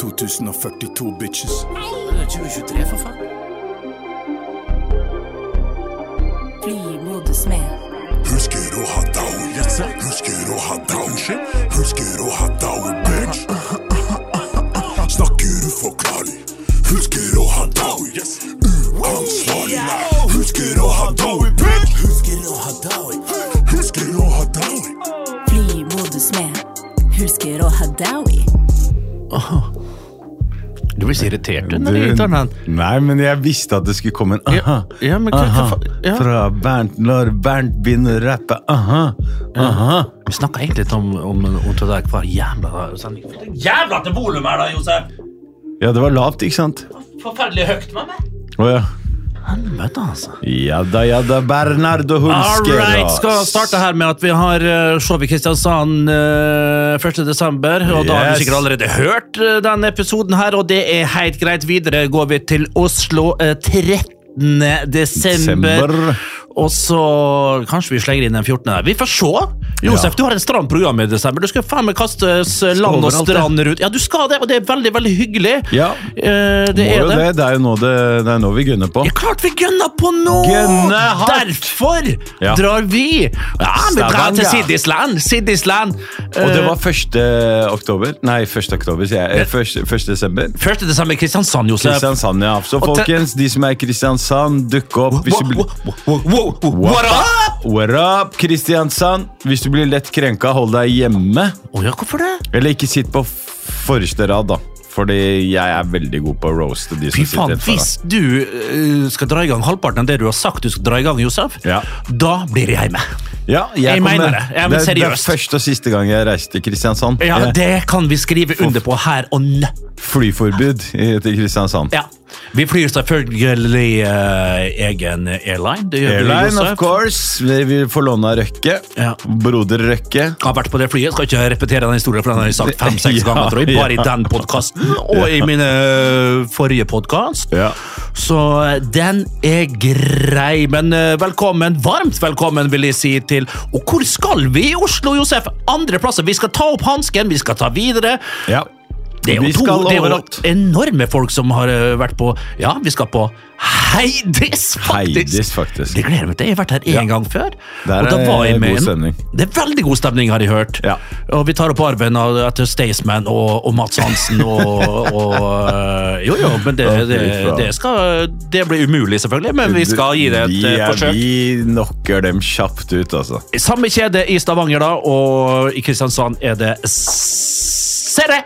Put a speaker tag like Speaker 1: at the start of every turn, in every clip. Speaker 1: 2042, bitches.
Speaker 2: Det er 2023, for faen.
Speaker 3: Flymodus med.
Speaker 1: Husker å ha daur.
Speaker 2: Yes, sir.
Speaker 1: Husker å ha daur. Husker å ha daur, bitch. Snakker uforklarlig. Husker å ha daur. Uansvarlig. Husker å ha daur, bitch. Husker å ha daur. Husker å ha daur.
Speaker 3: Flymodus med. Husker å ha Dowie.
Speaker 4: Du blir så irritert du, når du
Speaker 5: Du-
Speaker 4: tar den.
Speaker 5: Nei, men jeg visste at det skulle komme en aha,
Speaker 4: ja, men hva-
Speaker 5: aha
Speaker 4: hva fa- ja.
Speaker 5: fra Bernt når Bernt begynner å rappe. Aha, aha.
Speaker 4: Vi snakka egentlig litt om, om, om det der hver jævla sending.
Speaker 2: Jævla til volum her, da, Josef!
Speaker 5: Ja, det var lavt, ikke sant?
Speaker 2: Forferdelig høyt med meg.
Speaker 5: Å ja.
Speaker 4: Helvete, altså.
Speaker 5: Ja da, ja da, Bernardo Hulsker.
Speaker 4: Alright, skal starte her med at vi har eh, showet i Kristiansand eh, 1. desember, og da har
Speaker 5: Yes.
Speaker 4: du sikkert allerede hørt eh, denne episoden her, og det er helt greit. Videre går vi til Oslo eh, 13. Desember.
Speaker 5: Desember.
Speaker 4: Og så kanskje vi slenger inn den 14. der. Vi får se. Josef,
Speaker 5: Ja.
Speaker 4: du har et stramt program i desember. Du skal faen meg kastes land og
Speaker 5: overalt, det.
Speaker 4: strand rundt. Ja, du skal det, og det er veldig, veldig hyggelig.
Speaker 5: Ja.
Speaker 4: Eh, det
Speaker 5: Må
Speaker 4: er
Speaker 5: jo
Speaker 4: det.
Speaker 5: det. Det er jo nå, det, det er nå vi gunner på.
Speaker 4: Ja, klart vi gønner på nå!
Speaker 5: Gønne hardt!
Speaker 4: Derfor
Speaker 5: Ja.
Speaker 4: drar vi! Ja, vi drar til
Speaker 5: Stavanger.
Speaker 4: Siddisland! Siddisland!
Speaker 5: Og det
Speaker 4: Eh,
Speaker 5: var 1. oktober. Nei, 1. oktober, sier jeg. Eh, Først- 1. desember.
Speaker 4: 1. desember i Kristiansand, Josef.
Speaker 5: Kristiansand, ja. Så
Speaker 4: Og te-
Speaker 5: folkens, de som er i Kristiansand, dukk opp. Hvis du blir-
Speaker 4: Wo- wo- wo- wo- wo- What up?
Speaker 5: What up, Kristiansand? Hvis du blir lett krenka, hold deg hjemme.
Speaker 4: Å ja, hvorfor det?
Speaker 5: Eller ikke sitt på forreste rad, da. Fordi jeg er veldig god på å roaste de
Speaker 4: Fy
Speaker 5: som sitter
Speaker 4: faen,
Speaker 5: rett foran.
Speaker 4: hvis du eh, skal dra i gang halvparten av det du har sagt du skal dra i gang, Josef,
Speaker 5: Ja.
Speaker 4: da blir jeg med.
Speaker 5: Ja, jeg,
Speaker 4: Jeg mener
Speaker 5: kommer-
Speaker 4: det. Ja, men
Speaker 5: det, er- det er
Speaker 4: seriøst.
Speaker 5: første og siste gang jeg reiste til Kristiansand. Eh,
Speaker 4: Ja,
Speaker 5: Jeg-
Speaker 4: det kan vi skrive under på her og nå.
Speaker 5: Flyforbud i- til Kristiansand.
Speaker 4: Ja. Vi flyr selvfølgelig eh, egen airline. Det gjør vi,
Speaker 5: Airline, of
Speaker 4: Josef.
Speaker 5: course. Vi vi får låne av Røkke.
Speaker 4: Ja.
Speaker 5: Broder Røkke.
Speaker 4: har vært på det flyet. Skal ikke repetere den historien, for den har jeg sagt fem-seks
Speaker 5: Ja,
Speaker 4: ganger, tror jeg. Bare i
Speaker 5: ja.
Speaker 4: den podkasten og i min forrige podkast.
Speaker 5: Ja.
Speaker 4: Så eh, den er grei. Men eh, velkommen, varmt velkommen, vil jeg si til Og hvor skal vi i Oslo, Josef? Andre plasser. Vi skal ta opp hansken, vi skal ta videre.
Speaker 5: ja.
Speaker 4: Det er jo
Speaker 5: Vi
Speaker 4: to
Speaker 5: skal
Speaker 4: det er jo
Speaker 5: overalt.
Speaker 4: enorme folk som har eh, vært på Ja, vi skal på Heidis, faktisk!
Speaker 5: Heidis, faktisk.
Speaker 4: Det gleder jeg meg til. Jeg har vært her én gang før.
Speaker 5: Der
Speaker 4: og da
Speaker 5: er
Speaker 4: var jeg
Speaker 5: god
Speaker 4: med en-
Speaker 5: stemning.
Speaker 4: Det er veldig god stemning, har jeg hørt.
Speaker 5: Ja.
Speaker 4: Og vi tar opp arven av- etter Staysman og, og Mats Hansen og, og eh, Jo, jo, men det,
Speaker 5: Å, fy
Speaker 4: det,
Speaker 5: faen.
Speaker 4: det skal Det blir umulig, selvfølgelig, men vi skal gi det et
Speaker 5: vi,
Speaker 4: eh,
Speaker 5: er-
Speaker 4: forsøk.
Speaker 5: Vi knocker dem kjapt ut, altså.
Speaker 4: Samme kjede i Stavanger, da, og i Kristiansand er det Serre!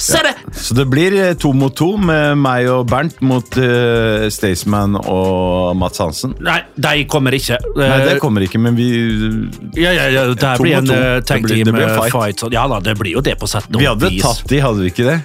Speaker 4: Serre!
Speaker 5: Så det blir eh, to mot to med meg og Bernt mot uh, Staysman og Mats Hansen.
Speaker 4: Nei, de kommer ikke. Eh,
Speaker 5: Nei, det kommer ikke, men vi,
Speaker 4: ja, ja, ja, det
Speaker 5: To
Speaker 4: blir
Speaker 5: mot
Speaker 4: en
Speaker 5: to.
Speaker 4: eh, tag
Speaker 5: Det blir- det
Speaker 4: team
Speaker 5: blir en
Speaker 4: eh,
Speaker 5: fight.
Speaker 4: fight. sånn. Ja da, det blir jo det på sett og
Speaker 5: vi hadde
Speaker 4: vis.
Speaker 5: tatt de, hadde vi ikke det?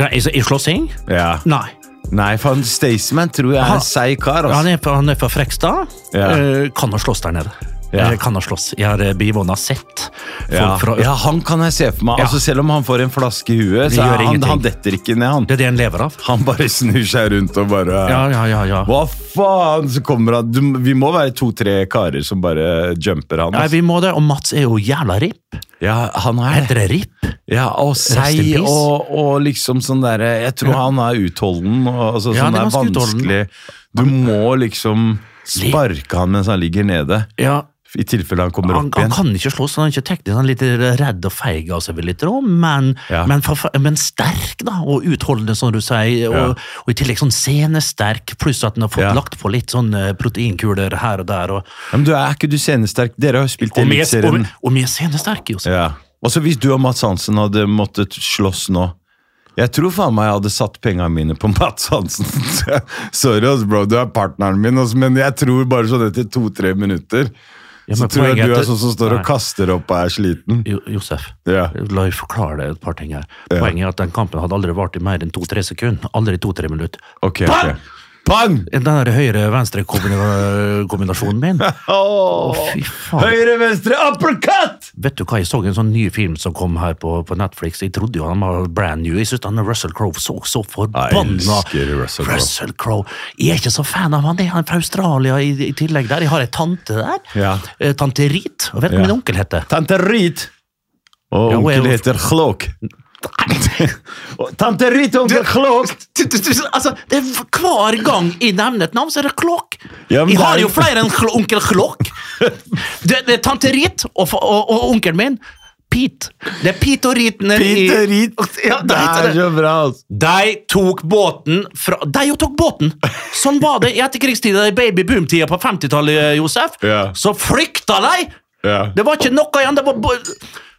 Speaker 4: Re- altså, I, i slåssing?
Speaker 5: Ja.
Speaker 4: Nei.
Speaker 5: Nei, faen, Staysman tror jeg er
Speaker 4: Han-
Speaker 5: en seig kar.
Speaker 4: Han
Speaker 5: Altså.
Speaker 4: er, fra- han er fra Frekstad.
Speaker 5: Ja.
Speaker 4: Eh, kan han slåss der nede?
Speaker 5: Ja.
Speaker 4: Eh, Kan han slåss? Jeg har eh, bivåna sett. folk
Speaker 5: Ja.
Speaker 4: Fra,
Speaker 5: ja, han kan jeg se for meg.
Speaker 4: Ja.
Speaker 5: Altså, selv om han får en flaske i huet, så
Speaker 4: gjør
Speaker 5: er han,
Speaker 4: ingenting.
Speaker 5: han detter ikke ned, han.
Speaker 4: Det er det han lever av.
Speaker 5: Han bare snur seg rundt og bare
Speaker 4: Ja, ja, ja. ja.
Speaker 5: Hva faen? Så kommer han du, Vi må være to-tre karer som bare jumper han.
Speaker 4: Nei,
Speaker 5: Altså.
Speaker 4: vi må det, og Mats er jo jævla rip.
Speaker 5: Ja, han er det.
Speaker 4: Heter det rip?
Speaker 5: Ja, og
Speaker 4: Rest in
Speaker 5: seig
Speaker 4: peace.
Speaker 5: og, og liksom sånn derre Jeg tror han er utholden. Og, altså,
Speaker 4: Ja,
Speaker 5: sånn
Speaker 4: det er
Speaker 5: er
Speaker 4: ganske utholden.
Speaker 5: vanskelig Du må liksom sparke han mens han ligger nede,
Speaker 4: Ja,
Speaker 5: i tilfelle han kommer
Speaker 4: han,
Speaker 5: opp
Speaker 4: han
Speaker 5: igjen.
Speaker 4: kan ikke slåss, han er ikke teknisk, han er litt redd og feig av seg, vil jeg tro, men,
Speaker 5: Ja.
Speaker 4: men, forfe- men sterk da, og utholdende, som du sier, og,
Speaker 5: Ja.
Speaker 4: og i tillegg sånn senesterk, pluss at han har fått
Speaker 5: Ja.
Speaker 4: lagt på litt sånn eh, proteinkuler her og der, og,
Speaker 5: Ja, men du er ikke du senesterk. Dere har jo spilt i
Speaker 4: og, mye, og,
Speaker 5: Eliteserien.
Speaker 4: og mye senesterk, Josef.
Speaker 5: Ja. Også hvis du og Mats Hansen hadde måttet slåss nå Jeg tror faen meg jeg hadde satt penga mine på Mats Hansen. Sorry, ass, bro. Du er partneren min, ass, men jeg tror bare sånn etter to-tre minutter
Speaker 4: Ja,
Speaker 5: så
Speaker 4: men
Speaker 5: tror
Speaker 4: poenget
Speaker 5: jeg du
Speaker 4: at
Speaker 5: er
Speaker 4: det-
Speaker 5: sånn som står
Speaker 4: Nei.
Speaker 5: og kaster opp og er sliten.
Speaker 4: Jo, Josef,
Speaker 5: Ja.
Speaker 4: la meg forklare deg et par ting her. Poenget er at den kampen hadde aldri vart i mer enn to-tre sekunder. Aldri to-tre minutter.
Speaker 5: Ok, ok.
Speaker 4: Pang!
Speaker 5: Pang!
Speaker 4: Den der høyre-venstre-kombinasjonen min
Speaker 5: Åh,
Speaker 4: Å, fy faen.
Speaker 5: Høyre, venstre, uppercut!
Speaker 4: Vet du hva, jeg så en sånn ny film som kom her på, på Netflix. Jeg trodde jo han var brand new. Jeg synes han Russell Crowe så så forbanna
Speaker 5: elsker Russell Crowe.
Speaker 4: Russell Crowe. Jeg er ikke så fan av han. Det er han fra Australia i, i tillegg der. Jeg har ei tante der.
Speaker 5: Ja.
Speaker 4: Eh, Tante Rit. Og vet du
Speaker 5: Ja.
Speaker 4: hva min onkel heter?
Speaker 5: Tante Reed. Og
Speaker 4: Ja, hun er
Speaker 5: onkel
Speaker 4: jo-
Speaker 5: heter Chlok. Tante Rita, hun blir klokt!
Speaker 4: Du- du- du- Altså, det er Hver gang jeg nevner et navn, så er det Klokk.
Speaker 5: Ja, men
Speaker 4: jeg
Speaker 5: det
Speaker 4: har
Speaker 5: er-
Speaker 4: jo flere enn kl onkel Klokk. Det, det er tante Rit og, fa- og, og onkelen min. Pete. Det er Pete og Riten er i-
Speaker 5: Peter Rit.
Speaker 4: Ja,
Speaker 5: Det er så bra, altså.
Speaker 4: De tok båten fra De jo tok båten! Sånn var det i etterkrigstida, i babyboomtida på 50-tallet, Josef.
Speaker 5: Ja.
Speaker 4: Så flykta de!
Speaker 5: Ja.
Speaker 4: Det var ikke noe igjen! Det var bo-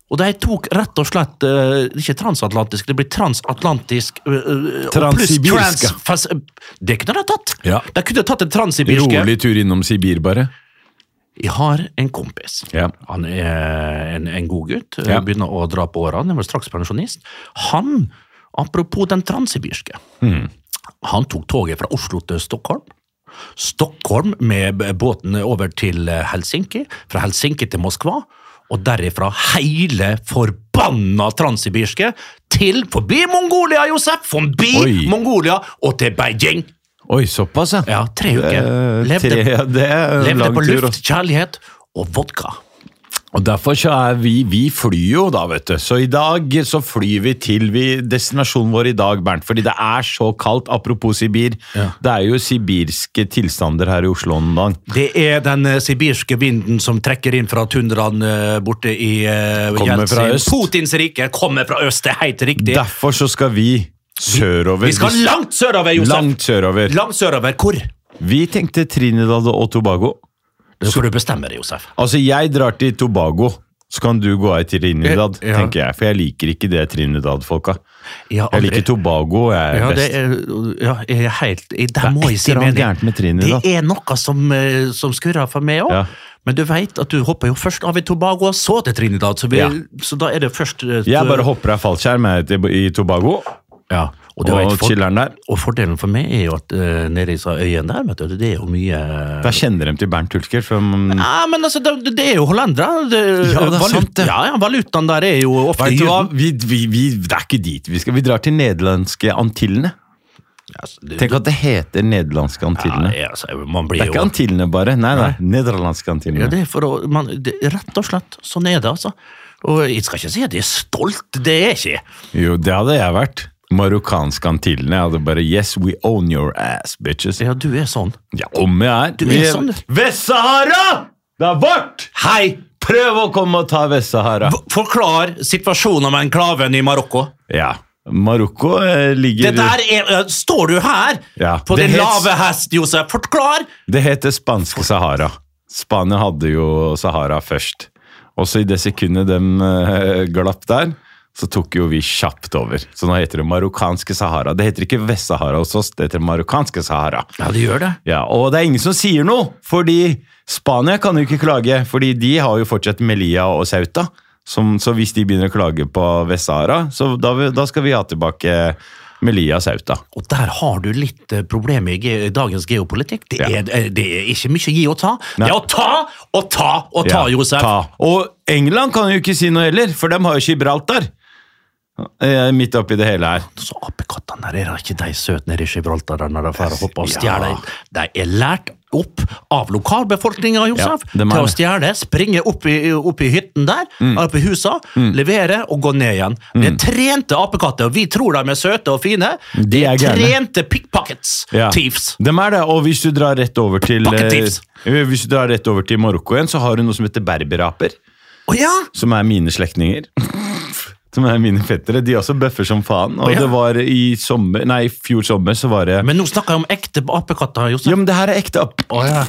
Speaker 4: og de tok rett og slett eh, Ikke transatlantisk, det blir transatlantisk eh, eh, og pluss
Speaker 5: Transsibirske.
Speaker 4: transfas- Det kunne de tatt!
Speaker 5: Ja.
Speaker 4: De kunne tatt en transsibirske.
Speaker 5: Rolig tur innom Sibir, bare.
Speaker 4: Jeg har en kompis.
Speaker 5: Ja.
Speaker 4: Han er en, en god gutt.
Speaker 5: Ja.
Speaker 4: Begynner å dra på årene. Han er vel straks pensjonist. Han, apropos den transsibirske,
Speaker 5: Hmm.
Speaker 4: han tok toget fra Oslo til Stockholm. Stockholm med b- båten over til eh, Helsinki. Fra Helsinki til Moskva. Og derifra hele forbanna transsibirske til forbi Mongolia, Josef! Forbi
Speaker 5: Oi.
Speaker 4: Mongolia og til Beijing!
Speaker 5: Oi, såpass,
Speaker 4: Ja, tre uker.
Speaker 5: Eh,
Speaker 4: Levde
Speaker 5: tre- ja, det er en
Speaker 4: Levde
Speaker 5: lang
Speaker 4: på
Speaker 5: tur,
Speaker 4: luft,
Speaker 5: altså.
Speaker 4: kjærlighet og vodka.
Speaker 5: Og derfor så er vi Vi flyr jo, da, vet du. Så i dag så flyr vi til vi, destinasjonen vår i dag, Bernt. Fordi det er så kaldt. Apropos Sibir. Det er jo sibirske tilstander her i Oslo om dagen.
Speaker 4: Det er den eh, sibirske vinden som trekker inn fra tundraen eh, borte i eh,
Speaker 5: Kommer fra
Speaker 4: Jeltsin.
Speaker 5: øst.
Speaker 4: Putins rike kommer fra øst, det er helt riktig.
Speaker 5: Derfor så skal vi sørover.
Speaker 4: Vi skal langt sørover, Josef!
Speaker 5: langt sørover.
Speaker 4: Langt sørover. Hvor?
Speaker 5: Vi tenkte Trinidad og Tobago.
Speaker 4: Det skal du bestemme deg, Josef.
Speaker 5: Altså, jeg drar til Tobago. Så kan du gå av i Trinidad,
Speaker 4: Ja.
Speaker 5: tenker jeg. For jeg liker ikke det Trinidad-folka.
Speaker 4: Jeg har
Speaker 5: Jeg
Speaker 4: aldri-
Speaker 5: liker Tobago, jeg er
Speaker 4: ja,
Speaker 5: best.
Speaker 4: det er, ja, jeg er helt i- Der
Speaker 5: er
Speaker 4: må
Speaker 5: et
Speaker 4: jeg si
Speaker 5: eller annet
Speaker 4: mening.
Speaker 5: gærent med Trinidad.
Speaker 4: Det er noe som, eh, som skurrer for meg òg.
Speaker 5: Ja.
Speaker 4: Men du veit at du hopper jo først av i Tobago, og så til Trinidad. Så, vi,
Speaker 5: Ja.
Speaker 4: så da er det først eh,
Speaker 5: Jeg bare hopper av fallskjerm jeg, til- i Tobago,
Speaker 4: Ja, og, det
Speaker 5: og
Speaker 4: vet folk-
Speaker 5: chiller'n der.
Speaker 4: og fordelen for meg er jo at eh, nede i disse øyene der, vet du, det er jo mye
Speaker 5: Da kjenner de til Bernt Hulsker. For, mm,
Speaker 4: Nei, men altså, det, det er jo hollendere. Det,
Speaker 5: Ja, det er sant, det.
Speaker 4: Ja, ja, valutaen der er jo ofte
Speaker 5: vet du hva?
Speaker 4: gyllen.
Speaker 5: Vi, vi, vi, det er ikke dit vi skal. Vi drar til nederlandske Antillene.
Speaker 4: Altså, det-
Speaker 5: Tenk at det heter nederlandske Antillene.
Speaker 4: ja, altså, man
Speaker 5: Det
Speaker 4: blir
Speaker 5: er ikke
Speaker 4: jo
Speaker 5: Antillene, bare. Nei, nei. Nederlandske Antillene.
Speaker 4: ja, det er for å, man, det, Rett og slett, sånn er det, altså. Og jeg skal ikke si at jeg er stolt, det er jeg ikke.
Speaker 5: Jo, det hadde jeg vært. Marokkanske Antillene. Jeg hadde bare Yes, we own your ass, bitches.
Speaker 4: Ja, du er sånn.
Speaker 5: Ja, om jeg er.
Speaker 4: er
Speaker 5: Vi er-
Speaker 4: sånn, du.
Speaker 5: Vest-Sahara! Det er vårt!
Speaker 4: Hei!
Speaker 5: Prøv å komme og ta Vest-Sahara.
Speaker 4: f- Forklar situasjonen med enklaven i Marokko.
Speaker 5: Ja. Marokko eh, ligger
Speaker 4: Det der er, eh, står du her
Speaker 5: Ja,
Speaker 4: på
Speaker 5: det
Speaker 4: din
Speaker 5: het-
Speaker 4: lave hest, Josef. Forklar!
Speaker 5: Det heter spanske Sahara. Spania hadde jo Sahara først. Også i det sekundet de eh, glapp der, så tok jo vi kjapt over. Så nå heter det marokkanske Sahara. Det heter ikke Vest-Sahara hos oss, det heter marokkanske Sahara.
Speaker 4: Ja, det gjør det.
Speaker 5: Ja, Og det er ingen som sier noe, fordi Spania kan jo ikke klage. fordi de har jo fortsatt Melilla og Sauta. Som, så hvis de begynner å klage på Vest-Sahara, så da, vil- da skal vi ha tilbake Melilla og Sauta.
Speaker 4: Og der har du litt eh, problemer i ge dagens geopolitikk. Det er,
Speaker 5: Ja.
Speaker 4: eh, det er ikke mye gi og ta.
Speaker 5: Nei.
Speaker 4: Det er å ta og ta og ta,
Speaker 5: Ja,
Speaker 4: Josef.
Speaker 5: ta. Og England kan jo ikke si noe heller, for de har jo Gibraltar. Eh, Midt oppi det hele her.
Speaker 4: Så apekattene der, er det ikke de søte nede i Gibraltar der når de får hoppe og
Speaker 5: Ja.
Speaker 4: stjele? De er lært opp av lokalbefolkninga, Josef,
Speaker 5: Ja, dem er
Speaker 4: til å
Speaker 5: det. Mm.
Speaker 4: stjele. Springe opp i, opp i hytten der, opp i husa, levere og gå ned igjen. Det er trente apekatter, og vi tror de er søte og fine.
Speaker 5: De er gærne.
Speaker 4: Trente pickpockets.
Speaker 5: Ja.
Speaker 4: Thieves.
Speaker 5: De er det, og hvis du drar rett over til
Speaker 4: Pocket
Speaker 5: eh,
Speaker 4: thieves.
Speaker 5: Hvis du drar rett over til Marokko igjen, så har du noe som heter berberaper.
Speaker 4: Å ja!
Speaker 5: Som er mine slektninger. Som er mine fettere. De også bøffer som faen. Og
Speaker 4: Å, ja.
Speaker 5: det var i sommer Nei, i fjor sommer så var det
Speaker 4: Men nå snakker jeg om ekte apekatter, Josef.
Speaker 5: Ja, men det her er ekte ap...
Speaker 4: Å, ja.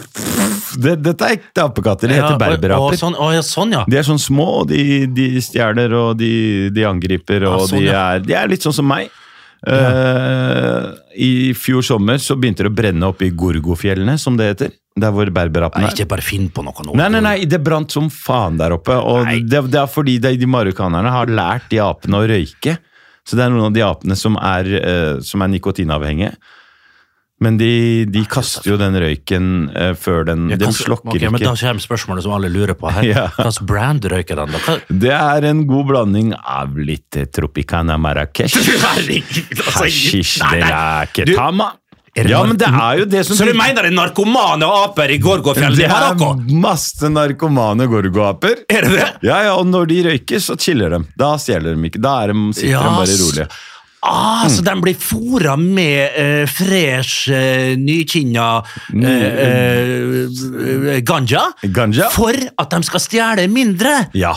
Speaker 5: Det, dette er ekte apekatter. De
Speaker 4: Ja,
Speaker 5: heter
Speaker 4: og- og
Speaker 5: berberaper.
Speaker 4: Sånn, å, ja, sånn, ja.
Speaker 5: De er sånn små, og de, de stjeler, og de, de angriper, og
Speaker 4: Ja, sånn,
Speaker 5: de,
Speaker 4: ja.
Speaker 5: er, de er litt sånn som meg. Eh, I fjor sommer så begynte det å brenne opp i Gorgofjellene, som det heter. Der hvor berberapen
Speaker 4: Nei,
Speaker 5: er.
Speaker 4: ikke bare finn på noe nå.
Speaker 5: Nei, nei, nei, det brant som faen der oppe. Og
Speaker 4: Nei.
Speaker 5: det, det er fordi de, de marokkanerne har lært de apene å røyke. Så det er noen av de apene som er, eh, som er nikotinavhengige. Men de, de kaster jo den røyken eh, før den
Speaker 4: Jeg
Speaker 5: De
Speaker 4: kan-
Speaker 5: slokker
Speaker 4: Ok, Men
Speaker 5: ikke.
Speaker 4: da kommer spørsmålet som alle lurer på her.
Speaker 5: Ja.
Speaker 4: Hva slags brand røyker den, da? Hva-
Speaker 5: Det er en god blanding av litt eh, Tropicana Marrakech.
Speaker 4: Herregud, altså,
Speaker 5: Hashish
Speaker 4: nei,
Speaker 5: de
Speaker 4: nei.
Speaker 5: la
Speaker 4: Du-
Speaker 5: Ketama.
Speaker 4: Er
Speaker 5: Ja,
Speaker 4: nar-
Speaker 5: men det er jo det som
Speaker 4: Så du mener det er narkomane aper i Gorgofjellet
Speaker 5: Det
Speaker 4: i
Speaker 5: er
Speaker 4: Marokko?
Speaker 5: masse narkomane gorgoaper.
Speaker 4: Er det det?
Speaker 5: Ja, ja, og når de røyker, så chiller de. Da stjeler de ikke. Da er de, sitter
Speaker 4: Ja,
Speaker 5: de bare
Speaker 4: s-
Speaker 5: rolig. Mm.
Speaker 4: Ah, Så de blir fôra med eh, fresh, eh, nykinna eh, eh, ganja,
Speaker 5: Ganja.
Speaker 4: for at de skal stjele mindre?
Speaker 5: Ja.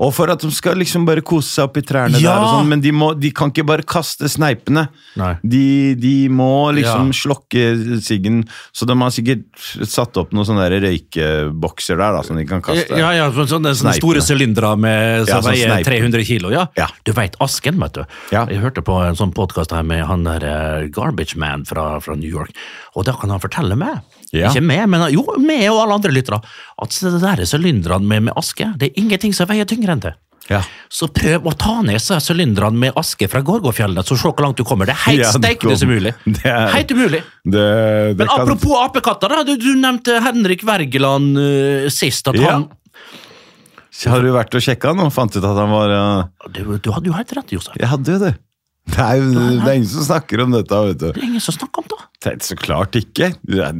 Speaker 5: Og for at de skal liksom bare kose seg oppi trærne
Speaker 4: Ja.
Speaker 5: der og sånn, men de, må, de kan ikke bare kaste sneipene.
Speaker 4: Nei.
Speaker 5: De, de må liksom
Speaker 4: Ja.
Speaker 5: slokke siggen, så de har sikkert satt opp noen sånne der røykebokser der da, som de kan kaste.
Speaker 4: Ja, ja, så- sånne, sånne
Speaker 5: Sneipene.
Speaker 4: store sylindere med- som
Speaker 5: Ja, sånn
Speaker 4: veier
Speaker 5: sneip.
Speaker 4: 300 kilo. Ja.
Speaker 5: Ja.
Speaker 4: Du veit asken, vet du.
Speaker 5: Ja.
Speaker 4: Jeg hørte på en sånn podkast med han der eh, Garbage Man fra, fra New York, og da kan han fortelle meg,
Speaker 5: Ja.
Speaker 4: ikke meg, men jo, meg og alle andre lyttere, at det der sylinderne med, med aske, det er ingenting som veier tyngre enn det.
Speaker 5: Ja.
Speaker 4: Så prøv å ta ned så sylinderne med aske fra Gorgofjellene, så se hvor langt du kommer. Det er helt
Speaker 5: Ja, det
Speaker 4: steikende som
Speaker 5: kommer-
Speaker 4: mulig.
Speaker 5: det er-
Speaker 4: Helt umulig.
Speaker 5: Det, det
Speaker 4: Men apropos apekatter, da, du, du nevnte Henrik Wergeland eh, sist. at
Speaker 5: Ja.
Speaker 4: han...
Speaker 5: kan, Har du vært og sjekka han og fant ut at han var eh,
Speaker 4: Du, du hadde jo helt rett, Josef.
Speaker 5: Jeg hadde jo det. Det er, jo, det er ingen som snakker om dette, vet du.
Speaker 4: Det er ingen som snakker om det.
Speaker 5: Det er så klart ikke. Det er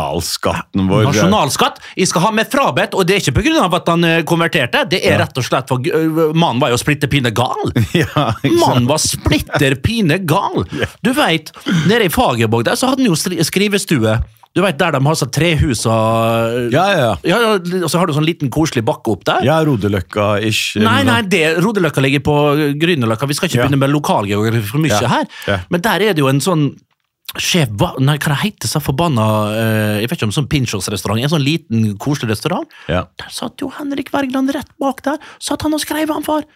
Speaker 5: nasjonalskatten vår.
Speaker 4: Nasjonalskatt. Jeg skal ha med frabedt, og det er ikke pga. at han eh, konverterte. Det er rett og slett for eh, mannen var jo splitter pine gal.
Speaker 5: Ja, ikke sant?
Speaker 4: Mannen var splitter pine gal. Du veit, nede i Fagerborg der så hadde han jo stri- skrivestue. Du veit der de har sånn trehusa
Speaker 5: ja, ja.
Speaker 4: Ja, ja, og så har du sånn liten koselig bakke opp der.
Speaker 5: Ja, Rodeløkka-ish.
Speaker 4: Nei, nei, det, Rodeløkka ligger på Grünerløkka. Vi skal ikke
Speaker 5: Ja.
Speaker 4: begynne med lokalgeografi for mye
Speaker 5: Ja.
Speaker 4: her.
Speaker 5: Ja.
Speaker 4: Men der er det jo en sånn Sjef, hva, nei, hva det heter så forbanna eh, Jeg vet ikke om sånn Pinchos-restaurant. En sånn liten, koselig restaurant.
Speaker 5: Ja.
Speaker 4: Der satt jo Henrik Wergeland rett bak der. Satt han og skreiv, han var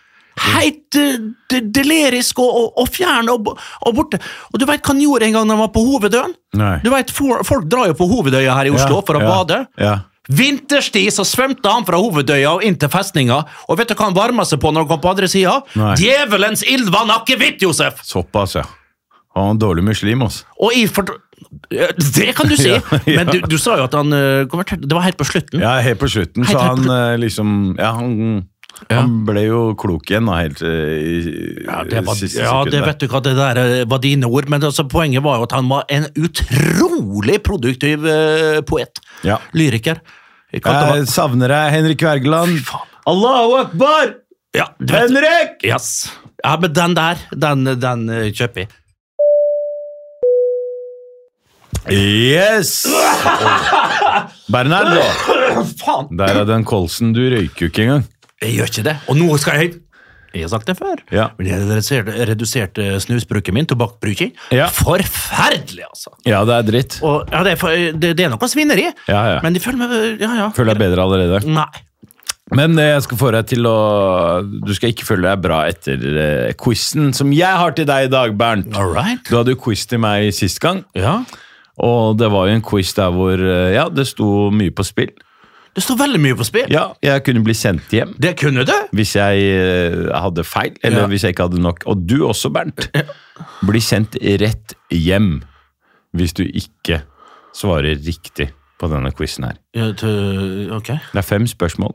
Speaker 4: Helt eh, de- delirisk og, og, og fjern og, bo- og borte. Og du veit hva han gjorde en gang da han var på Hovedøen?
Speaker 5: Nei.
Speaker 4: Du vet, for, Folk drar jo på Hovedøya her i Oslo for å
Speaker 5: ja,
Speaker 4: bade.
Speaker 5: Ja.
Speaker 4: Vinterstid så svømte han fra hovedøya og inn til festninga, og vet du hva han varma seg på når han kom på andre sida?
Speaker 5: Nei.
Speaker 4: Djevelens ildvann akevitt, Josef!
Speaker 5: Såpass, ja. Han var en dårlig muslim, altså.
Speaker 4: Og i fort... Eh, Det kan du si,
Speaker 5: Ja, ja.
Speaker 4: men du, du sa jo at han eh, konverterte Det var helt på slutten.
Speaker 5: Ja, helt på slutten,
Speaker 4: Helt,
Speaker 5: så
Speaker 4: helt på
Speaker 5: han eh, liksom Ja, han,
Speaker 4: Ja.
Speaker 5: han ble jo klok igjen, da, helt eh, i
Speaker 4: Ja, det, var,
Speaker 5: siste
Speaker 4: ja, det
Speaker 5: sekundet.
Speaker 4: vet du hva, det der eh, var dine ord, men altså, poenget var jo at han var en utrolig produktiv eh, poet.
Speaker 5: Ja.
Speaker 4: Lyriker. Jeg kalte
Speaker 5: Jeg
Speaker 4: han-
Speaker 5: savner deg, Henrik Wergeland.
Speaker 4: faen.
Speaker 5: Allahu akbar!
Speaker 4: Ja, du vet,
Speaker 5: Henrik!
Speaker 4: Yes. Ja, men den der, den, den eh, kjøper jeg.
Speaker 5: Yes! Bernardo!
Speaker 4: Faen!
Speaker 5: Der er den kolsen. Du røyker jo ikke engang.
Speaker 4: Jeg gjør ikke det. Og nå skal jeg Jeg har sagt det før.
Speaker 5: Ja.
Speaker 4: Men jeg reduserte, reduserte snusbruken min, tobakkbruken.
Speaker 5: Ja.
Speaker 4: Forferdelig, altså!
Speaker 5: Ja, det er dritt.
Speaker 4: Og, ja, det, er for, det, det er noe svineri,
Speaker 5: Ja, ja.
Speaker 4: men de føler meg Ja, ja.
Speaker 5: Føler deg bedre allerede.
Speaker 4: Nei.
Speaker 5: Men eh, jeg skal få deg til å Du skal ikke føle deg bra etter eh, quizen som jeg har til deg i dag, Bernt.
Speaker 4: All right.
Speaker 5: Du hadde jo quiz til meg sist gang,
Speaker 4: Ja.
Speaker 5: og det var jo en quiz der hvor eh, ja, det sto mye på spill.
Speaker 4: Det står veldig mye på spill.
Speaker 5: Ja, jeg kunne bli sendt hjem
Speaker 4: Det kunne du!
Speaker 5: hvis jeg eh, hadde feil, eller
Speaker 4: Ja.
Speaker 5: hvis jeg ikke hadde nok. Og du også, Bernt. Bli sendt rett hjem hvis du ikke svarer riktig på denne quizen her.
Speaker 4: Ja, til- ok.
Speaker 5: Det er fem spørsmål.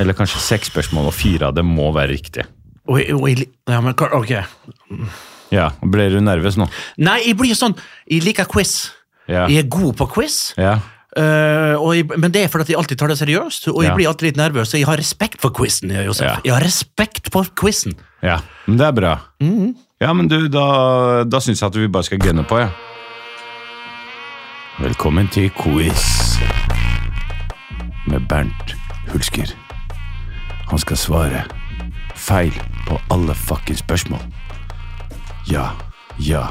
Speaker 5: Eller kanskje seks spørsmål, og fire av dem må være riktige.
Speaker 4: Og, jeg- og, jeg li- ja, men, hva- ok.
Speaker 5: Ja, Ble du nervøs nå?
Speaker 4: Nei, jeg blir sånn Jeg liker quiz.
Speaker 5: Ja.
Speaker 4: Jeg er god på quiz.
Speaker 5: Ja.
Speaker 4: Eh, og jeg, men det er fordi at jeg alltid tar det seriøst, og jeg
Speaker 5: Ja.
Speaker 4: blir alltid litt nervøs. Så jeg har respekt for quizen. Josef.
Speaker 5: Ja.
Speaker 4: Jeg har respekt for quizen.
Speaker 5: ja. Men det er bra. Ja, men du, da, da syns jeg at vi bare skal gunne på, ja. Velkommen til quiz med Bernt Hulsker. Han skal svare feil på alle fuckings spørsmål. Ja, ja.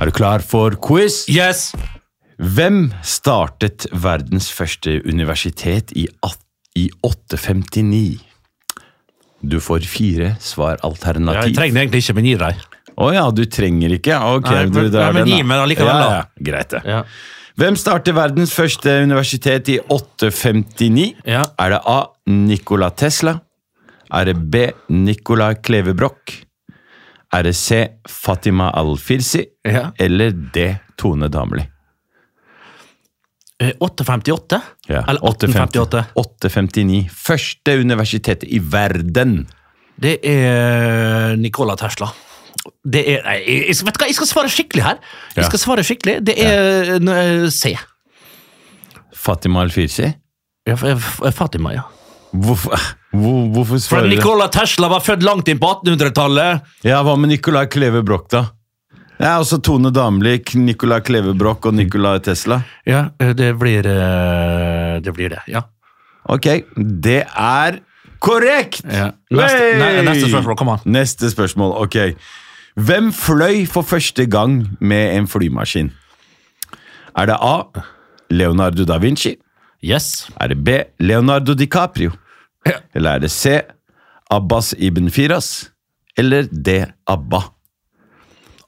Speaker 5: Er du klar for quiz?
Speaker 4: Yes!
Speaker 5: Hvem startet verdens første universitet i, at- i 859? Du får fire svar
Speaker 4: jeg
Speaker 5: alternativ. Å ja,
Speaker 4: trenger det egentlig ikke, men gir deg.
Speaker 5: du trenger ikke? Ok,
Speaker 4: Nei, men-
Speaker 5: du drar
Speaker 4: nei, men
Speaker 5: den, da.
Speaker 4: gi meg da likevel,
Speaker 5: ja,
Speaker 4: da.
Speaker 5: ja, Greit, det. Hvem startet verdens første universitet i 859?
Speaker 4: Ja.
Speaker 5: Er det A. Nikola Tesla? Er det B. Nicolai Klevebrok? Er det C. Fatima Al-Firsi?
Speaker 4: Ja.
Speaker 5: Eller D. Tone Damli?
Speaker 4: Eh, 858?
Speaker 5: Ja,
Speaker 4: Eller 1858?
Speaker 5: 859. Første universitetet i verden.
Speaker 4: Det er Nicola eh, Tesla. Det er, nei, jeg, jeg, skal- vet du hva, jeg skal svare skikkelig her.
Speaker 5: Ja.
Speaker 4: Jeg skal svare skikkelig. Det er eh, C.
Speaker 5: Fatima Al-Firsi?
Speaker 4: Ja, f- eh, f- Fatima, ja.
Speaker 5: Hvorfor, hvor, hvorfor
Speaker 4: For
Speaker 5: svarer du
Speaker 4: Nikola Tesla var født langt inn på 1800-tallet.
Speaker 5: Ja, hva med Nicolai Kleve Broch, da? Ja, også Tone Damli, K- Nicolai Kleve Broch og Nicolai Tesla.
Speaker 4: Ja, eh, det blir eh, Det blir det, ja.
Speaker 5: Ok, det er korrekt!
Speaker 4: Ja. Neste-
Speaker 5: Hey!
Speaker 4: ne- neste spørsmål, kom an.
Speaker 5: Neste spørsmål, ok. Hvem fløy for første gang med en flymaskin? Er det A. Leonardo da Vinci?
Speaker 4: Yes.
Speaker 5: Er det B. Leonardo DiCaprio?
Speaker 4: Ja.
Speaker 5: Eller er det C. Abbas Ibn Firas? Eller D. Abba?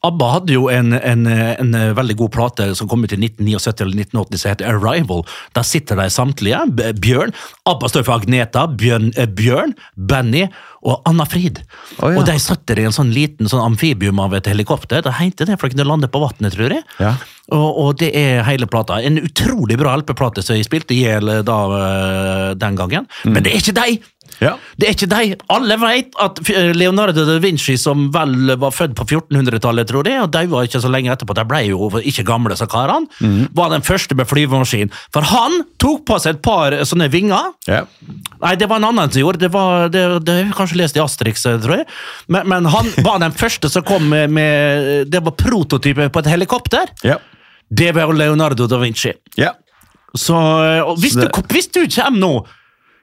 Speaker 4: ABBA hadde jo en, en, en veldig god plate som kom ut i 1979 eller 1980 som heter Arrival. Der sitter de samtlige. B- Bjørn. ABBA står for Agneta, Bjørn, eh, Bjørn Benny og Anna Frid.
Speaker 5: Å, ja.
Speaker 4: Og de satt i en sånn liten sånn amfibium av et helikopter. De hengte det for å kunne lande på vannet, tror jeg.
Speaker 5: Ja.
Speaker 4: Og, og det er hele plata. En utrolig bra LP-plate som jeg spilte i hjel eh, da, eh, den gangen.
Speaker 5: Mm.
Speaker 4: Men det er ikke deg!
Speaker 5: Ja.
Speaker 4: Det er ikke de. Alle vet at eh, Leonardo da Vinci, som vel var født på 1400-tallet, tror jeg, og de var ikke så lenge etterpå, de ble jo ikke gamle, sa karene,
Speaker 5: Mhm.
Speaker 4: var den første med flyvemaskin. For han tok på seg et par eh, sånne vinger.
Speaker 5: Ja.
Speaker 4: Nei, det var en annen som gjorde det. Var, det, det har jeg kanskje lest i Asterix, eh, tror jeg. Men, men han var den første som kom med, med eh, Det var prototype på et helikopter.
Speaker 5: Ja.
Speaker 4: Det var Leonardo da Vinci.
Speaker 5: ja.
Speaker 4: Så eh, og hvis,
Speaker 5: Så det-
Speaker 4: du, hvis du kommer nå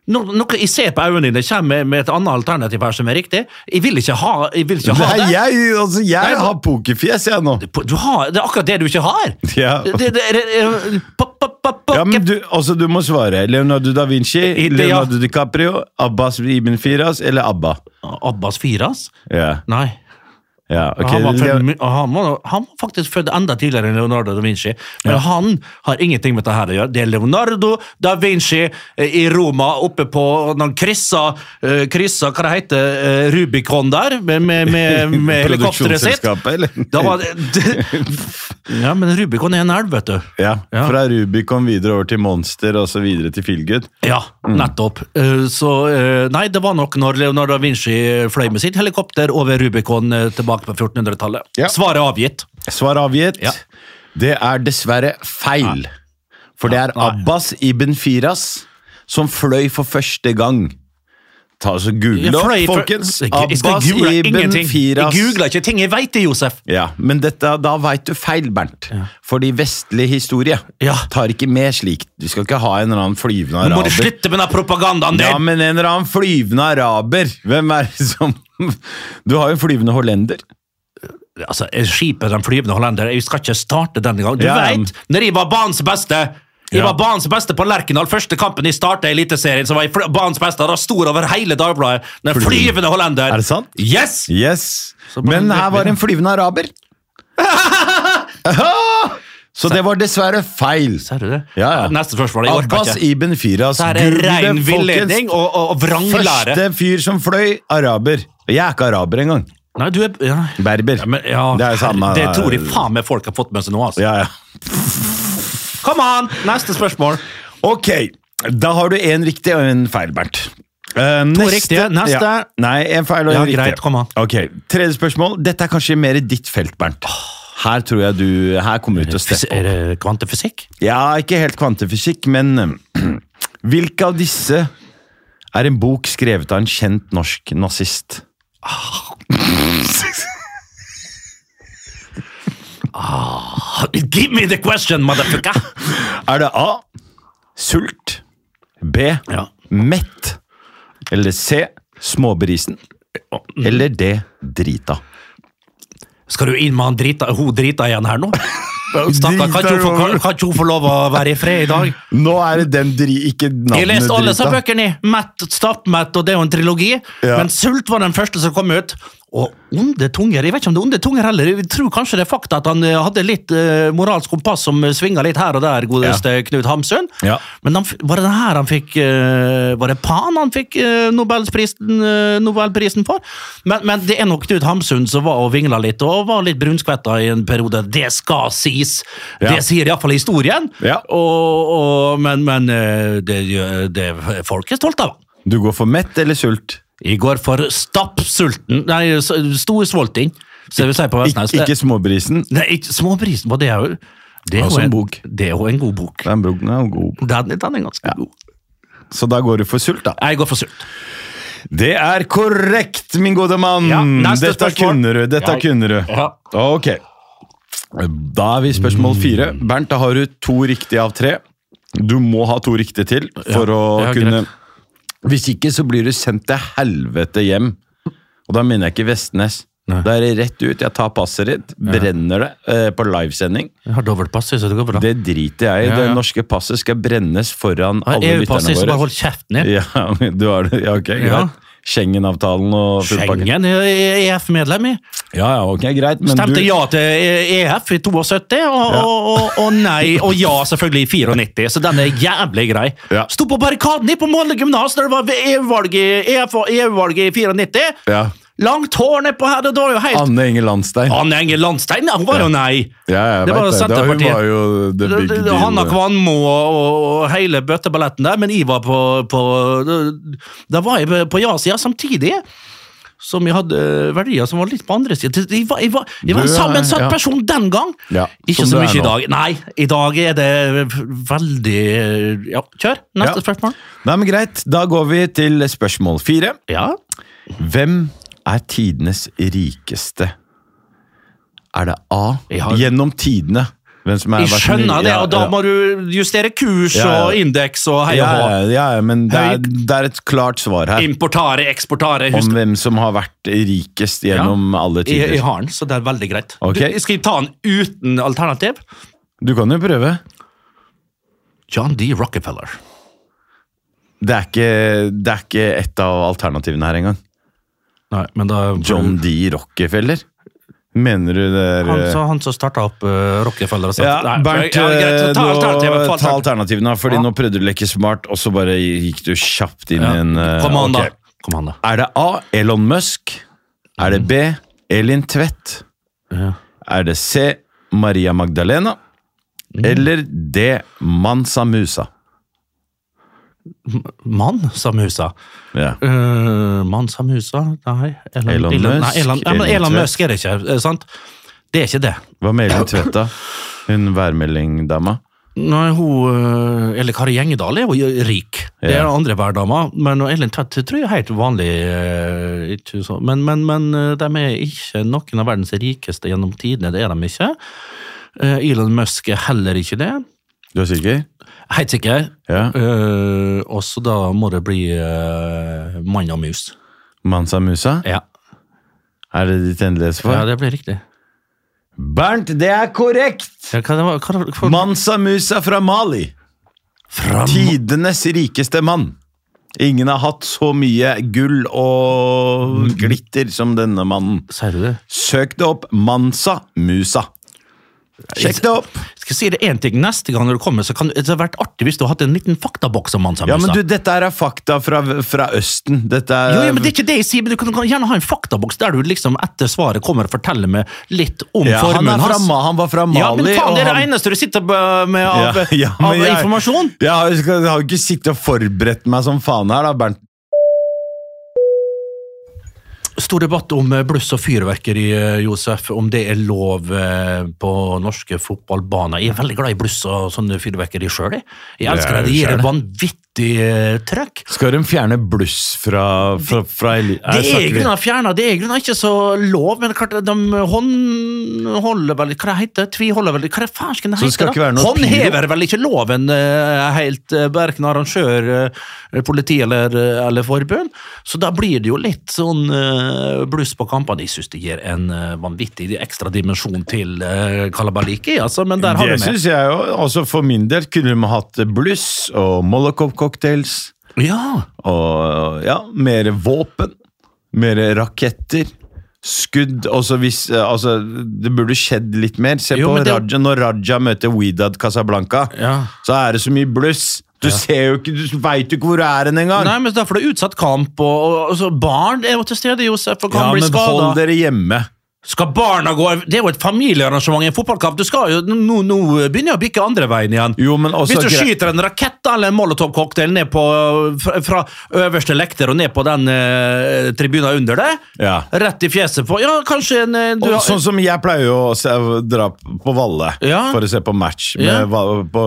Speaker 4: no, Noe jeg ser på øynene dine, kommer med et annet alternativ her som er riktig. Jeg vil ikke ha, jeg vil ikke ha
Speaker 5: Nei,
Speaker 4: det.
Speaker 5: jeg, altså, jeg
Speaker 4: Nei,
Speaker 5: har pokerfjes, jeg nå.
Speaker 4: Du har, det er akkurat det du ikke har!
Speaker 5: Ja.
Speaker 4: Det, det, det, eh, pa- pa- pa- pa-
Speaker 5: Ja, men du, altså, du må svare. Leonardo da Vinci,
Speaker 4: I- det, ja.
Speaker 5: Leonardo DiCaprio, Abbas Ibn Firas eller Abba?
Speaker 4: Abbas Firas?
Speaker 5: Ja,
Speaker 4: Nei.
Speaker 5: ja ok.
Speaker 4: han, var født,
Speaker 5: Leo-
Speaker 4: my- han, var, han var faktisk født enda tidligere enn Leonardo da Vinci. Men han har ingenting med dette her å gjøre. Det er Leonardo da Vinci eh, i Roma, oppe på Når han kryssa, eh, kryssa hva det heter, eh, Rubicon der, med, med, med, med helikopteret sitt.
Speaker 5: Produksjonsselskapet, eller?
Speaker 4: Da var det, ja, men Rubicon er en elv, vet du.
Speaker 5: Ja,
Speaker 4: Ja.
Speaker 5: fra Rubicon videre over til Monster og så videre til Feelgood.
Speaker 4: Ja,
Speaker 5: Mm.
Speaker 4: nettopp. Eh, Så eh, Nei, det var nok når Leonardo da Vinci fløy med sitt helikopter over Rubicon eh, tilbake på 1400-tallet.
Speaker 5: Ja.
Speaker 4: Svaret avgitt.
Speaker 5: Svar avgitt.
Speaker 4: Ja.
Speaker 5: Det er dessverre feil. For det er
Speaker 4: Nei.
Speaker 5: Abbas Ibn Firas som fløy for første gang. Ta altså Google
Speaker 4: Jeg
Speaker 5: opp,
Speaker 4: fløy for-
Speaker 5: folkens.
Speaker 4: Jeg- jeg skal
Speaker 5: Abbas
Speaker 4: google
Speaker 5: Ibn
Speaker 4: ingenting.
Speaker 5: Firas.
Speaker 4: Jeg googler ikke ting jeg vet det, Josef.
Speaker 5: Ja, Men dette, da veit du feil, Bernt. Fordi vestlig historie
Speaker 4: Ja.
Speaker 5: tar ikke med slikt. Du skal ikke ha en eller annen flyvende
Speaker 4: Nå må du
Speaker 5: araber.
Speaker 4: slutte med den propagandaen din!
Speaker 5: Ja, men en eller annen flyvende araber. Hvem er det som Du har jo en flyvende hollender.
Speaker 4: Altså, Skipet Den flyvende hollender, jeg skal ikke starte denne gangen. Du
Speaker 5: Ja, ja.
Speaker 4: vet, når jeg var banens beste jeg
Speaker 5: Ja.
Speaker 4: var banens beste på Lerkendal. Første kampen jeg starta i Eliteserien, så var jeg fl- banens beste. Da stor over hele Dagbladet. Den flyvende hollender.
Speaker 5: Er det sant?
Speaker 4: Yes!
Speaker 5: Yes,
Speaker 4: Så bare
Speaker 5: men
Speaker 4: en
Speaker 5: her var
Speaker 4: brødbil.
Speaker 5: en flyvende araber. Så det var dessverre feil.
Speaker 4: Ser du det?
Speaker 5: Ja, ja.
Speaker 4: Neste spørsmål. Jeg orker
Speaker 5: Abbas
Speaker 4: ikke.
Speaker 5: Ibn Firas.
Speaker 4: Så her er
Speaker 5: Google,
Speaker 4: rein villedning
Speaker 5: folkens.
Speaker 4: og, og, og vranglære.
Speaker 5: Første fyr som fløy, araber. Og Jeg er ikke araber engang.
Speaker 4: Nei, du er ja.
Speaker 5: Berber.
Speaker 4: Ja, men, ja,
Speaker 5: Det er jo samme-
Speaker 4: Det tror jeg faen meg folk har fått med seg nå. altså.
Speaker 5: Ja, ja.
Speaker 4: Kom an! Neste spørsmål.
Speaker 5: Ok, da har du en riktig og en feil, Bernt. Eh, neste-
Speaker 4: riktige, neste.
Speaker 5: Ja. Nei, en feil og en
Speaker 4: Ja,
Speaker 5: riktig.
Speaker 4: greit, kom an.
Speaker 5: Ok, Tredje spørsmål. Dette er kanskje mer i ditt felt, Bernt. Her tror jeg du, her kommer du til å steppe opp.
Speaker 4: Er det kvantefysikk?
Speaker 5: Ja, ikke helt kvantefysikk, men øhm, Hvilke av disse er en bok skrevet av en kjent norsk nazist?
Speaker 4: Give me the question, motherfucker!
Speaker 5: Er det A. Sult. B.
Speaker 4: Ja.
Speaker 5: Mett. Eller C. Småbrisen.
Speaker 4: mm.
Speaker 5: Eller D. Drita.
Speaker 4: Skal du inn med han drita, hun drita igjen her nå? Stakkar, kan ikke hun få- kan- kan ikke hun få lov å være i fred i dag?
Speaker 5: Nå er det den dri... Ikke navnet
Speaker 4: Jeg leste alle disse bøkene, i. Mett, Stappmett, og det er jo en trilogi.
Speaker 5: Ja.
Speaker 4: Men Sult var den første som kom ut. Og Onde tunger Jeg vet ikke om det er onde tunger heller. Jeg tror kanskje det er fakta at han eh, hadde litt eh, moralsk kompass som svinga litt her og der, godeste Knut Hamsun.
Speaker 5: Ja.
Speaker 4: Men han, f- var det den her han fikk eh, Var det Pan han fikk eh, Nobelprisen, eh, Nobelprisen for? Men, men det er nok Knut Hamsun som var og vingla litt, og var litt brunskvetta i en periode. Det skal sies!
Speaker 5: Ja.
Speaker 4: Det sier iallfall historien.
Speaker 5: Ja.
Speaker 4: Og, og, men men eh, det, gjør- det folk er stolt av han.
Speaker 5: Du går for mett eller sult?
Speaker 4: I går for stappsulten Nei, s- storsvolting. Så jeg vil si på
Speaker 5: Ik
Speaker 4: Vestnes
Speaker 5: ikke småbrisen.
Speaker 4: Nei, ikke Småprisen, hva det er jo Det er
Speaker 5: Altså
Speaker 4: jo
Speaker 5: en
Speaker 4: en,
Speaker 5: bok.
Speaker 4: det er jo en god bok.
Speaker 5: Den broken er jo god.
Speaker 4: Den, den er ganske god.
Speaker 5: Så da går du for sult, da.
Speaker 4: Jeg går for sult.
Speaker 5: Det er korrekt, min gode mann!
Speaker 4: Ja, neste
Speaker 5: Dette
Speaker 4: spørsmål.
Speaker 5: kunne du. Dette
Speaker 4: Ja.
Speaker 5: kunne du.
Speaker 4: Ja.
Speaker 5: Ok. Da er vi i spørsmål
Speaker 4: Mm.
Speaker 5: fire. Bernt, da har du to riktige av tre. Du må ha to riktige til for
Speaker 4: Ja,
Speaker 5: å
Speaker 4: ja,
Speaker 5: kunne
Speaker 4: greit.
Speaker 5: Hvis ikke, så blir du sendt til helvete hjem. Og da mener jeg ikke Vestnes.
Speaker 4: Nei.
Speaker 5: Da er det rett ut. Jeg tar passet ditt, brenner det eh, på livesending.
Speaker 4: Jeg har dobbeltpass, så det går bra.
Speaker 5: Det driter jeg i.
Speaker 4: Ja, ja.
Speaker 5: Det norske passet skal brennes foran
Speaker 4: Har
Speaker 5: alle
Speaker 4: EU-pass,
Speaker 5: lytterne
Speaker 4: så bare
Speaker 5: våre.
Speaker 4: hold kjeften din.
Speaker 5: Ja, men du har det. Ja, ok, greit.
Speaker 4: Ja.
Speaker 5: Schengen-avtalen og full pakke.
Speaker 4: Schengen er EF-medlem, jeg.
Speaker 5: Ja, ja, ok, greit. Men
Speaker 4: Stemte
Speaker 5: du,
Speaker 4: ja til eh, EF i 72, og, og, og, og nei og ja selvfølgelig i 94, så den er jævlig grei.
Speaker 5: Ja.
Speaker 4: Sto på barrikaden i på Molde gymnas da det var EU-valg i, EF og EU-valget i 94.
Speaker 5: Ja.
Speaker 4: Langt hår nedpå her, det var jo helt
Speaker 5: Anne Enger Landstein.
Speaker 4: Anne Enger Landstein, ja, hun var jo nei.
Speaker 5: Ja, jeg
Speaker 4: Det
Speaker 5: vet
Speaker 4: var jo
Speaker 5: det. Da, hun
Speaker 4: Senterpartiet.
Speaker 5: var jo the big
Speaker 4: Det- det-
Speaker 5: deal.
Speaker 4: Hanna Kvanmo og, og hele bøtteballetten der, men jeg var på, på Da var jeg på ja-sida samtidig. Som jeg hadde eh, verdier som var litt på andre siden. Jeg var, jeg var, jeg var en
Speaker 5: Du er-
Speaker 4: sammensatt
Speaker 5: ja.
Speaker 4: person den gang!
Speaker 5: Ja,
Speaker 4: Ikke
Speaker 5: som
Speaker 4: så
Speaker 5: du
Speaker 4: mye
Speaker 5: er
Speaker 4: i
Speaker 5: nå.
Speaker 4: dag. Nei, i dag er det veldig eh, Ja, kjør! Neste
Speaker 5: Ja.
Speaker 4: spørsmål.
Speaker 5: Nei, men greit. Da går vi til spørsmål fire.
Speaker 4: Ja.
Speaker 5: Hvem er tidenes rikeste? Er det A?
Speaker 4: Jeg har-
Speaker 5: Gjennom tidene. Hvem som er
Speaker 4: Jeg
Speaker 5: vært den-
Speaker 4: skjønner det,
Speaker 5: ja,
Speaker 4: og da
Speaker 5: ja.
Speaker 4: må du justere kurs
Speaker 5: Ja, ja.
Speaker 4: og indeks og hei
Speaker 5: ja,
Speaker 4: og hå.
Speaker 5: ja, ja, men det er,
Speaker 4: Høy-
Speaker 5: det er et klart svar her
Speaker 4: Importare, eksportare,
Speaker 5: om
Speaker 4: husk
Speaker 5: hvem som har vært rikest gjennom alle
Speaker 4: jeg, jeg
Speaker 5: tider.
Speaker 4: har den, så det er veldig greit.
Speaker 5: Ok.
Speaker 4: Du, skal jeg ta den uten alternativ?
Speaker 5: Du kan jo prøve.
Speaker 4: John D. Rockefeller.
Speaker 5: Det er ikke, det er ikke et av alternativene her engang.
Speaker 4: Nei, men da
Speaker 5: John D. Rockefeller? Mener du det er
Speaker 4: Mm. Han, så, han som starta opp eh, Rockefeller og sa
Speaker 5: Ja,
Speaker 4: Nei,
Speaker 5: Bernt,
Speaker 4: ja, greit, så
Speaker 5: eh,
Speaker 4: ta alternativet. Ta
Speaker 5: nå- ta
Speaker 4: alternativet.
Speaker 5: alternativene, fordi
Speaker 4: Ja.
Speaker 5: nå prøvde du å leke smart, og så bare gikk du kjapt inn i en eh,
Speaker 4: Ja. Kom an, da.
Speaker 5: ok.
Speaker 4: Kom an, da.
Speaker 5: Er det A. Elon Musk? Er det B. Elin Tvedt?
Speaker 4: Ja.
Speaker 5: Er det C. Maria Magdalena?
Speaker 4: Mm.
Speaker 5: Eller D. Mansa Musa?
Speaker 4: Mann sa musa.
Speaker 5: Ja.
Speaker 4: Uh, Mann sa musa? Nei. Elon,
Speaker 5: Elon
Speaker 4: Elon- Nei,
Speaker 5: Musk,
Speaker 4: Elon, ja, men
Speaker 5: Elon
Speaker 4: Elon
Speaker 5: Tvedt.
Speaker 4: Musk er det ikke, er det sant? Det er ikke det.
Speaker 5: Hva med Elin Tvedt, da? Hun værmeldingdama?
Speaker 4: Nei, hun eh, Eller Kari Gjengedal er jo rik. Det er
Speaker 5: Ja.
Speaker 4: den andre værdama. Men og Ellen Tvedt tror jeg er helt vanlig. eh, Ikke så. Men, men, men eh, de er ikke noen av verdens rikeste gjennom tidene. Det er de ikke. Eh, Elon Musk er heller ikke det.
Speaker 5: Du er sikker?
Speaker 4: Helt sikker.
Speaker 5: Ja.
Speaker 4: Eh, og så da må det bli eh, mann og mus.
Speaker 5: Mansa Musa?
Speaker 4: Ja.
Speaker 5: Er det ditt endelige
Speaker 4: ja,
Speaker 5: svar?
Speaker 4: det blir riktig.
Speaker 5: Bernt, det er korrekt!
Speaker 4: Ja, hva, det var- hva, hva,
Speaker 5: Mansa Musa fra Mali.
Speaker 4: Fra-
Speaker 5: Tidenes rikeste mann. Ingen har hatt så mye gull og glitter som denne mannen.
Speaker 4: Sier du det?
Speaker 5: Søk det opp. Mansa Musa. Sjekk det opp!
Speaker 4: Skal jeg si det en ting neste gang når du kommer, så kan det hadde vært artig hvis du hadde hatt en liten faktaboks om Mansa Musa.
Speaker 5: Ja, men du, Dette her er fakta fra, fra Østen. Dette er,
Speaker 4: Jo, jo, men Det er ikke det jeg sier, men du kan kan gjerne ha en faktaboks der du liksom etter svaret kommer og forteller meg litt om
Speaker 5: ja, han,
Speaker 4: formuen
Speaker 5: er fra,
Speaker 4: hans.
Speaker 5: Ma- han var fra Mali.
Speaker 4: ja, men faen,
Speaker 5: og
Speaker 4: det er det
Speaker 5: han-
Speaker 4: eneste du sitter på med av,
Speaker 5: Ja, ja, men
Speaker 4: av
Speaker 5: jeg-
Speaker 4: informasjon.
Speaker 5: Jeg har jeg skal- jeg har jo ikke sittet og forberedt meg som faen her, da, Bernt.
Speaker 4: Stor debatt om eh, bluss og fyrverkeri, eh, Josef. Om det er lov eh, på norske fotballbaner. Jeg er veldig glad i bluss og sånne fyrverkeri sjøl. Jeg. jeg elsker
Speaker 5: Ja,
Speaker 4: det. Det gir
Speaker 5: selv.
Speaker 4: et vanvittig eh, trøkk.
Speaker 5: Skal de fjerne bluss fra, fra, fra eli- Nei,
Speaker 4: Det er i
Speaker 5: snakker vi-
Speaker 4: grunnen fjerna, det er i grunnen ikke så lov, men klart, de håndholder vel Hva det heter det? Tviholder vel Hva det fersken
Speaker 5: Så det skal
Speaker 4: heter?
Speaker 5: ikke være noe
Speaker 4: Håndhever vel ikke loven eh, helt, uh, verken arrangør, eh, politi eller, eller forbund? Så da blir det jo litt sånn eh, bluss på kampene. Jeg syns det gir en eh, vanvittig ekstra dimensjon til uh, kalabaliket, altså, men der har
Speaker 5: Det
Speaker 4: du med.
Speaker 5: syns jeg jo. Også for min del kunne de hatt bluss og Molotov-cocktails.
Speaker 4: Ja,
Speaker 5: Og ja, mer våpen. Mer raketter. Skudd også hvis, eh, altså, Det burde skjedd litt mer. Se
Speaker 4: Jo,
Speaker 5: på
Speaker 4: men det-
Speaker 5: Raja. Når Raja møter Widad Casablanca,
Speaker 4: Ja.
Speaker 5: så er det så mye bluss. Du ser jo ikke, du veit jo ikke hvor du er hen engang!
Speaker 4: Nei, men da får du utsatt kamp, og, og, og så barn er jo til stede, Josef, og kan
Speaker 5: Ja,
Speaker 4: bli
Speaker 5: men
Speaker 4: skada.
Speaker 5: hold dere hjemme.
Speaker 4: Skal barna gå Det er jo et familiearrangement i en fotballkamp. Du skal jo, nå, nå begynner jeg å bikke andre veien igjen.
Speaker 5: Jo, men også
Speaker 4: Hvis du
Speaker 5: gre-
Speaker 4: skyter en rakett eller en molotovcocktail ned på, fra, fra øverste lekter og ned på den eh, tribunen under det,
Speaker 5: Ja.
Speaker 4: rett i fjeset på Ja, kanskje en eh, du,
Speaker 5: Og
Speaker 4: har-
Speaker 5: sånn som jeg pleier jo å se, dra på Valle
Speaker 4: Ja.
Speaker 5: for å se på match med
Speaker 4: Ja.
Speaker 5: Val- på,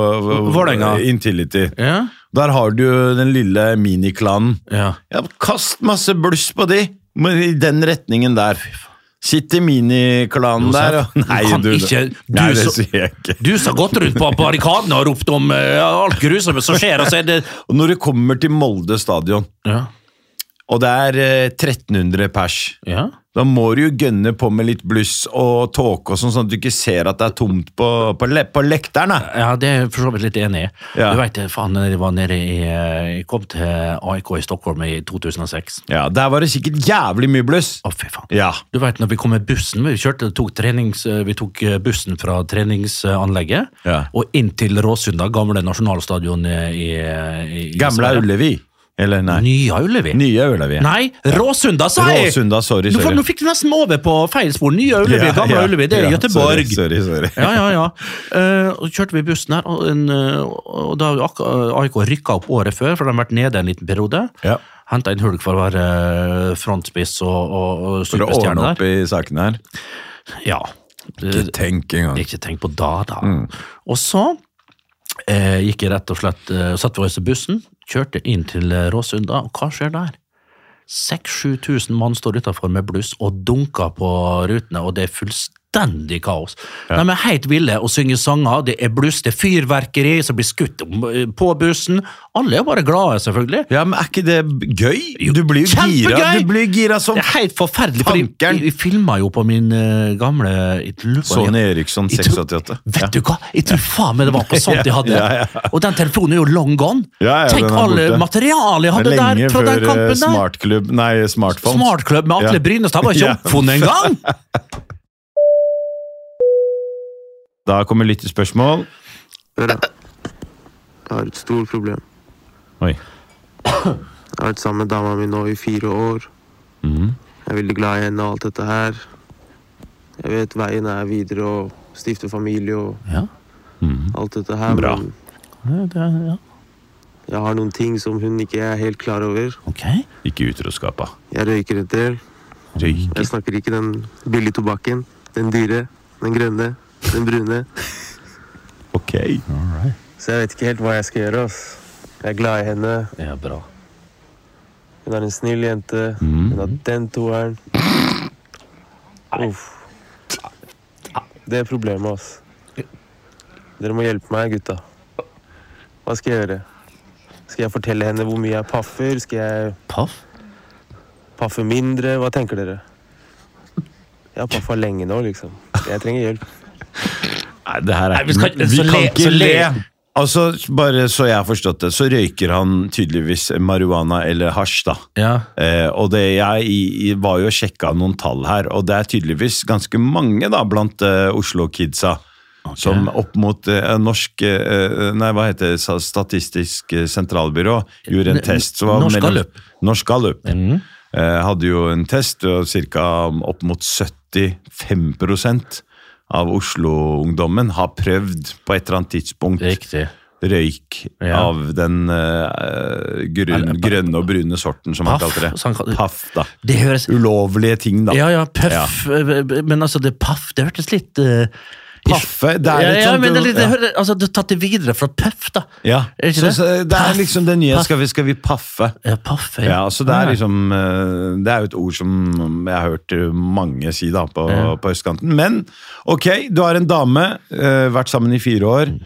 Speaker 4: Vålerenga.
Speaker 5: Intility.
Speaker 4: Ja.
Speaker 5: Der har du jo den lille miniklanen.
Speaker 4: Ja.
Speaker 5: Ja, kast masse bluss på de, men i den retningen der. Sitt i miniklanen
Speaker 4: Josef,
Speaker 5: der. og-
Speaker 4: du kan
Speaker 5: det-
Speaker 4: ikke- du
Speaker 5: Nei, det
Speaker 4: så-
Speaker 5: sier jeg ikke.
Speaker 4: Du som har gått rundt på barrikadene og ropt om eh, alt grusomme som skjer, og så er det
Speaker 5: Og når du kommer til Molde stadion,
Speaker 4: Ja.
Speaker 5: og det er eh, 1300 pers
Speaker 4: ja.
Speaker 5: Da må du jo gønne på med litt bluss og tåke og sånn, sånn at du ikke ser at det er tomt på, på, le på lekteren. da.
Speaker 4: Ja, det er jeg for så vidt litt enig i.
Speaker 5: Ja.
Speaker 4: Du veit, faen, når jeg var nede i eh, Jeg kom til AIK i Stockholm i 2006.
Speaker 5: Ja, Der var det sikkert jævlig mye bluss.
Speaker 4: Å, fy faen.
Speaker 5: Ja.
Speaker 4: Du vet, når vi kom med bussen, vi kjørte, tok, trenings, eh, vi tok bussen fra treningsanlegget
Speaker 5: Ja.
Speaker 4: og inn til Råsunda, gamle nasjonalstadion eh, i, i i
Speaker 5: Gamla
Speaker 4: Sverige.
Speaker 5: Ullevi. Eller nei.
Speaker 4: Nya Ullevi.
Speaker 5: Nye Ullevi.
Speaker 4: Nei, Råsunda, sa jeg!
Speaker 5: Råsunda, sorry,
Speaker 4: Du, for,
Speaker 5: sorry.
Speaker 4: nå fikk du nesten meg over på feil spor. Nye Ullevi,
Speaker 5: Ja,
Speaker 4: gamle
Speaker 5: ja,
Speaker 4: Ullevi, det er
Speaker 5: ja,
Speaker 4: Göteborg.
Speaker 5: Sorry, sorry. sorry.
Speaker 4: Ja, ja, ja. Eh, og så kjørte vi bussen her, og, en, eh, og da hadde AK AIK rykka opp året før, for de har vært nede en liten periode.
Speaker 5: Ja.
Speaker 4: Henta inn hulk for å være eh, frontspiss og, og, og
Speaker 5: For å ordne
Speaker 4: superstjerne
Speaker 5: opp
Speaker 4: der.
Speaker 5: i saken her.
Speaker 4: Ja.
Speaker 5: Ikke tenk engang.
Speaker 4: Ikke tenk på da, da. Og så eh, gikk jeg rett og slett eh, Satt vi oss i bussen, kjørte inn til eh, Råsunda, og hva skjer der? 6000-7000 mann står utafor med bluss og dunker på rutene, og det er fullstendig kaos. De er helt ville og synger sanger, det er bluss, det er fyrverkeri som blir skutt om- eh, på bussen. Alle er jo bare glade, selvfølgelig.
Speaker 5: Ja, men er ikke det b- gøy? Du blir jo gira,
Speaker 4: kjempegøy!
Speaker 5: du blir gira som
Speaker 4: Det er helt forferdelig, for
Speaker 5: Fankeren.
Speaker 4: vi filma jo på min eh, gamle jeg lurer på-
Speaker 5: Sony Eriksson
Speaker 4: sånn- Jeg tror-
Speaker 5: 688.
Speaker 4: Vet du hva? Jeg tror faen meg det var på sånt de hadde.
Speaker 5: Ja, ja.
Speaker 4: Og den telefonen er jo long gone.
Speaker 5: Ja, ja,
Speaker 4: Tenk
Speaker 5: den er
Speaker 4: alle
Speaker 5: borte.
Speaker 4: materialet jeg hadde
Speaker 5: Lenge
Speaker 4: der fra den
Speaker 5: før eh,
Speaker 4: kampen der.
Speaker 5: smartklubb Nei, smartphone.
Speaker 4: Smartklubb med Atle
Speaker 5: Ja.
Speaker 4: Brynestad var ikke
Speaker 5: Ja.
Speaker 4: oppfunnet engang!
Speaker 5: Da kommer lyttespørsmål.
Speaker 6: Dere, jeg har et stort problem.
Speaker 5: Oi.
Speaker 6: Jeg har vært sammen med dama mi nå i fire år. Jeg er veldig glad i henne og alt dette her. Jeg vet veien er videre og stifte familie og
Speaker 4: Ja.
Speaker 6: alt dette her,
Speaker 5: Bra.
Speaker 6: men
Speaker 4: Ja,
Speaker 6: jeg har noen ting som hun ikke er helt klar over.
Speaker 4: ok.
Speaker 5: Ikke utroskapa.
Speaker 6: Jeg røyker en del. Jeg snakker ikke den billige tobakken. Den dyre, den grønne, den brune.
Speaker 5: Ok.
Speaker 6: Så jeg vet ikke helt hva jeg skal gjøre, ass. Jeg er glad i henne.
Speaker 4: Det er bra.
Speaker 6: Hun er en snill jente. Hun har den toeren. Uff. Det er problemet, ass. Dere må hjelpe meg, gutta. Hva skal jeg gjøre? Skal jeg fortelle henne hvor mye jeg paffer? Skal jeg
Speaker 4: Paff?
Speaker 6: paffe mindre? Hva tenker dere? Jeg har paffa lenge nå, liksom. Jeg trenger hjelp.
Speaker 5: Nei, det her
Speaker 4: Nei,
Speaker 5: er
Speaker 4: vi skal-
Speaker 5: Vi
Speaker 4: så
Speaker 5: kan
Speaker 4: le-
Speaker 5: ikke
Speaker 4: så
Speaker 5: le.
Speaker 4: le.
Speaker 5: Altså, bare så jeg har forstått det, så røyker han tydeligvis marihuana eller hasj, da.
Speaker 4: Ja.
Speaker 5: Eh, og det, jeg i- i- var jo og sjekka noen tall her, og det er tydeligvis ganske mange da blant eh, Oslo-kidsa. Som opp mot eh, norsk eh, Nei, hva heter det? Sa- Statistisk eh, sentralbyrå gjorde en
Speaker 4: N-
Speaker 5: test. som var
Speaker 4: Norsk
Speaker 5: mellom-
Speaker 4: Gallup. Mhm.
Speaker 5: Norsk Gallup. Eh, hadde jo en test og ca. opp mot 75 av Oslo-ungdommen har prøvd på et eller annet tidspunkt
Speaker 4: Riktig.
Speaker 5: røyk
Speaker 4: Ja.
Speaker 5: av den eh, grunn,
Speaker 4: Eller-
Speaker 5: grønne og brune sorten, som han
Speaker 4: Paff,
Speaker 5: kalte det.
Speaker 4: som han kalte det.
Speaker 5: Paff, da.
Speaker 4: Det høres
Speaker 5: Ulovlige ting, da.
Speaker 4: Ja, ja, pøff Men altså, det paff, det hørtes litt eh,
Speaker 5: Paffe, det er
Speaker 4: ja,
Speaker 5: litt
Speaker 4: ja,
Speaker 5: sånn-
Speaker 4: men det, er litt- det,
Speaker 5: ja.
Speaker 4: hører- altså, du har tatt det videre fra pøff, da.
Speaker 5: Ja.
Speaker 4: Er ikke
Speaker 5: Så, så det er
Speaker 4: Paff,
Speaker 5: liksom det nye.
Speaker 4: paff.
Speaker 5: Skal vi, skal vi paffe?
Speaker 4: Ja, paff. ja.
Speaker 5: Ja, så det er liksom eh, Det er jo et ord som jeg har hørt mange si da på, på østkanten. Men ok, du har en dame, eh, vært sammen i fire år.
Speaker 4: Mm.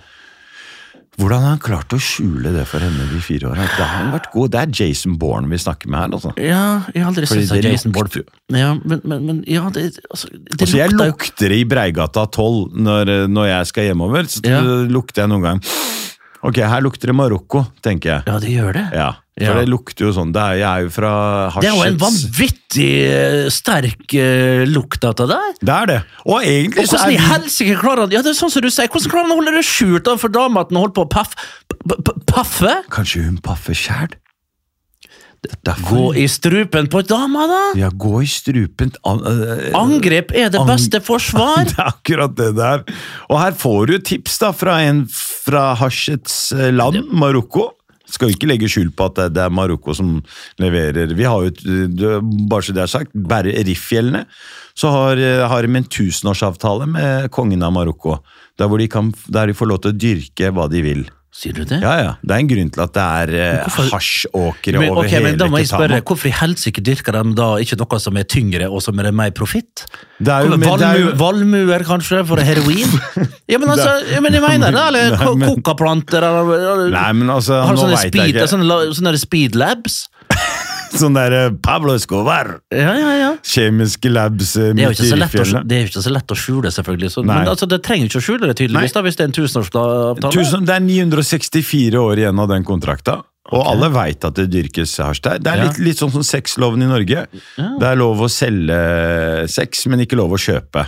Speaker 5: Hvordan har han klart å skjule det for henne de fire åra? Det har han vært god. Det er Jason Bourne vi snakker med her, altså.
Speaker 4: Ja, jeg har aldri
Speaker 5: Fordi
Speaker 4: syntes at
Speaker 5: det
Speaker 4: Jason Bourne
Speaker 5: lukter
Speaker 4: Ja, men, men, men ja, det, altså, det
Speaker 5: Altså, jeg
Speaker 4: lukter jo
Speaker 5: lukter det i Breigata 12 når, når jeg skal hjemover. Så
Speaker 4: Ja.
Speaker 5: lukter jeg noen gang Ok, her lukter det Marokko, tenker jeg.
Speaker 4: Ja, det gjør det.
Speaker 5: Ja, For
Speaker 4: Ja.
Speaker 5: det lukter jo sånn. Det er, jeg er jo fra
Speaker 4: Det er jo en
Speaker 5: hasjets
Speaker 4: vanvittig eh, sterk eh, lukt av det der.
Speaker 5: Det er det. Og egentlig
Speaker 4: Og
Speaker 5: så
Speaker 4: hvordan i
Speaker 5: er
Speaker 4: helsike klarer han Ja, det er sånn som du sier, hvordan klarer han å holde det skjult overfor dama at han holder på å paff, p- p- paffe?
Speaker 5: Kanskje hun paffer sjæl? Derfor.
Speaker 4: Gå i strupen på dama, da!
Speaker 5: Ja, gå i strupen an, øh,
Speaker 4: Angrep er det
Speaker 5: Ang-
Speaker 4: beste forsvar!
Speaker 5: Det er akkurat det der. Og her får du tips da fra en fra hasjets eh, land, Marokko. Skal jo ikke legge skjul på at det- det er Marokko som leverer. Vi har jo, et- det- bare så det er sagt, bare Rifffjellene, så har, eh, har de en tusenårsavtale med kongen av Marokko. Der, hvor de kan, der de får lov til å dyrke hva de vil.
Speaker 4: Sier du det?
Speaker 5: Ja, ja. Det er en grunn til at det er eh,
Speaker 4: hvorfor-
Speaker 5: hasjåkere
Speaker 4: Men,
Speaker 5: over
Speaker 4: ok, men
Speaker 5: hele
Speaker 4: da må jeg spørre,
Speaker 5: Ketama.
Speaker 4: Hvorfor i helsike dyrker de da ikke noe som er tyngre og som er mer profitt?
Speaker 5: Det er jo-
Speaker 4: Hvorfor-
Speaker 5: men det er jo-
Speaker 4: Valmu, valmuer, kanskje, for heroin? ja, men altså, ja, men jeg mener det, eller
Speaker 5: Nei,
Speaker 4: ko-
Speaker 5: men-
Speaker 4: kokaplanter, eller, eller
Speaker 5: Nei, men altså,
Speaker 4: Har du
Speaker 5: nå
Speaker 4: sånne
Speaker 5: veit jeg
Speaker 4: speed,
Speaker 5: ikke. Sånn,
Speaker 4: sånne, la- sånne speed labs?
Speaker 5: der eh, Pablo Escobar!
Speaker 4: Ja, ja, ja.
Speaker 5: Kjemiske labs eh,
Speaker 4: Det er, jo
Speaker 5: midt
Speaker 4: ikke
Speaker 5: i
Speaker 4: så lett å,
Speaker 5: Rifffjellene.
Speaker 4: det er jo ikke så lett å skjule, selvfølgelig. Så, men
Speaker 5: Nei.
Speaker 4: altså, det trenger ikke å skjule det,
Speaker 5: Nei.
Speaker 4: tydeligvis, da, hvis det er en tusenårsavtale.
Speaker 5: Tusen, det er 964 år igjen av den kontrakta. Og alle veit at det dyrkes hasj der. Det er
Speaker 4: Ja.
Speaker 5: litt, litt sånn som sexloven i Norge. Det er lov å selge sex, men ikke lov å kjøpe.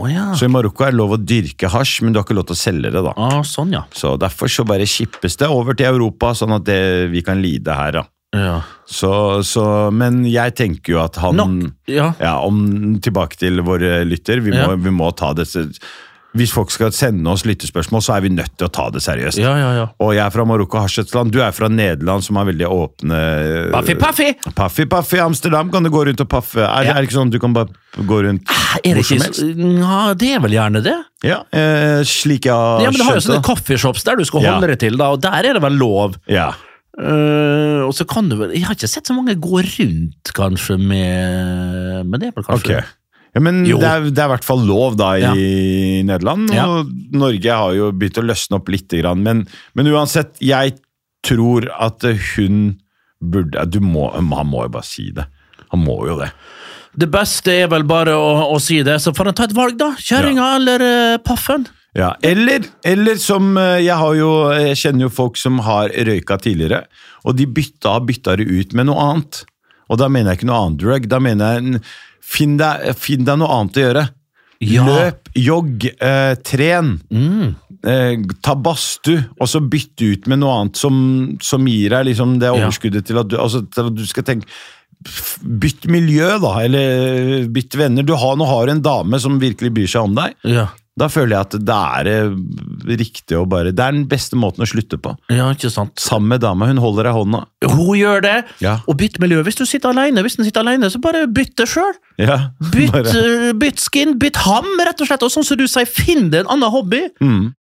Speaker 4: Å, ja.
Speaker 5: Så i Marokko er det lov å dyrke hasj, men du har ikke lov til å selge det. da.
Speaker 4: Ah. Ah, sånn, ja.
Speaker 5: Så Derfor så bare skippes det over til Europa, sånn at det, vi kan lide her. da.
Speaker 4: ja.
Speaker 5: Så, så, men jeg tenker jo at han
Speaker 4: Nok, ja.
Speaker 5: ja, om, tilbake til våre lytter. Vi må,
Speaker 4: Ja.
Speaker 5: vi må ta det se- Hvis folk skal sende oss lyttespørsmål, så er vi nødt til å ta det seriøst.
Speaker 4: Ja, ja, ja.
Speaker 5: Og jeg er fra Marokko Harsetsland, du er fra Nederland, som har veldig åpne
Speaker 4: Paffi, paffi!
Speaker 5: Paffi, paffi, Amsterdam kan du gå rundt og paffe. Er,
Speaker 4: Ja.
Speaker 5: er det ikke sånn at du kan bare gå rundt
Speaker 4: Er det
Speaker 5: hvor som
Speaker 4: ikke...
Speaker 5: helst?
Speaker 4: Ja, det er vel gjerne det.
Speaker 5: Ja, eh, slik jeg har
Speaker 4: Ja, men det har jo sånn
Speaker 5: skjønt
Speaker 4: sånne
Speaker 5: det.
Speaker 4: coffeeshops der du skal
Speaker 5: Ja.
Speaker 4: holde deg til, da, og der er det vel lov.
Speaker 5: Ja.
Speaker 4: Eh, og så kan du vel Jeg har ikke sett så mange gå rundt, kanskje, med Men det er vel
Speaker 5: Ok.
Speaker 4: kanskje
Speaker 5: Ja, men det
Speaker 4: Jo.
Speaker 5: er, det er i hvert fall lov da i
Speaker 4: Ja.
Speaker 5: Nederland, og
Speaker 4: Ja.
Speaker 5: Norge har jo begynt å løsne opp litt. Grann, men, men uansett, jeg tror at hun burde du må, Han må jo bare si det. Han må jo det.
Speaker 4: Det beste er vel bare å, å si det, så får han ta et valg, da. Kjerringa eller eh, paffen.
Speaker 5: Ja, eller, eller som eh, jeg, har jo, jeg kjenner jo folk som har røyka tidligere, og de bytta, bytta det ut med noe annet. Og da mener jeg ikke noe annet drug, da mener jeg en- finn deg, finn deg noe annet å gjøre.
Speaker 4: Ja. Mm.
Speaker 5: Løp, jogg, eh, tren. Eh, ta badstue, og så bytte ut med noe annet som, som gir deg liksom det
Speaker 4: Ja.
Speaker 5: overskuddet til at du, altså, til at du skal tenke f- Bytt miljø, da, eller eh, bytt venner. Du har, nå har du en dame som virkelig bryr seg om deg.
Speaker 4: Ja.
Speaker 5: Da føler jeg at det er eh, riktig å bare Det er den beste måten å slutte på.
Speaker 4: ja, ikke sant.
Speaker 5: Sammen med dama. Hun holder deg i hånda.
Speaker 4: Hun gjør det,
Speaker 5: Ja.
Speaker 4: og bytt miljø hvis du sitter alene. Hvis den sitter alene, så bare bytt det sjøl.
Speaker 5: Ja,
Speaker 4: Bytt, eh,
Speaker 5: bare-
Speaker 4: bytt skin, bytt ham, rett og slett. Og sånn som du sier, finn deg en annen hobby.
Speaker 5: Mm.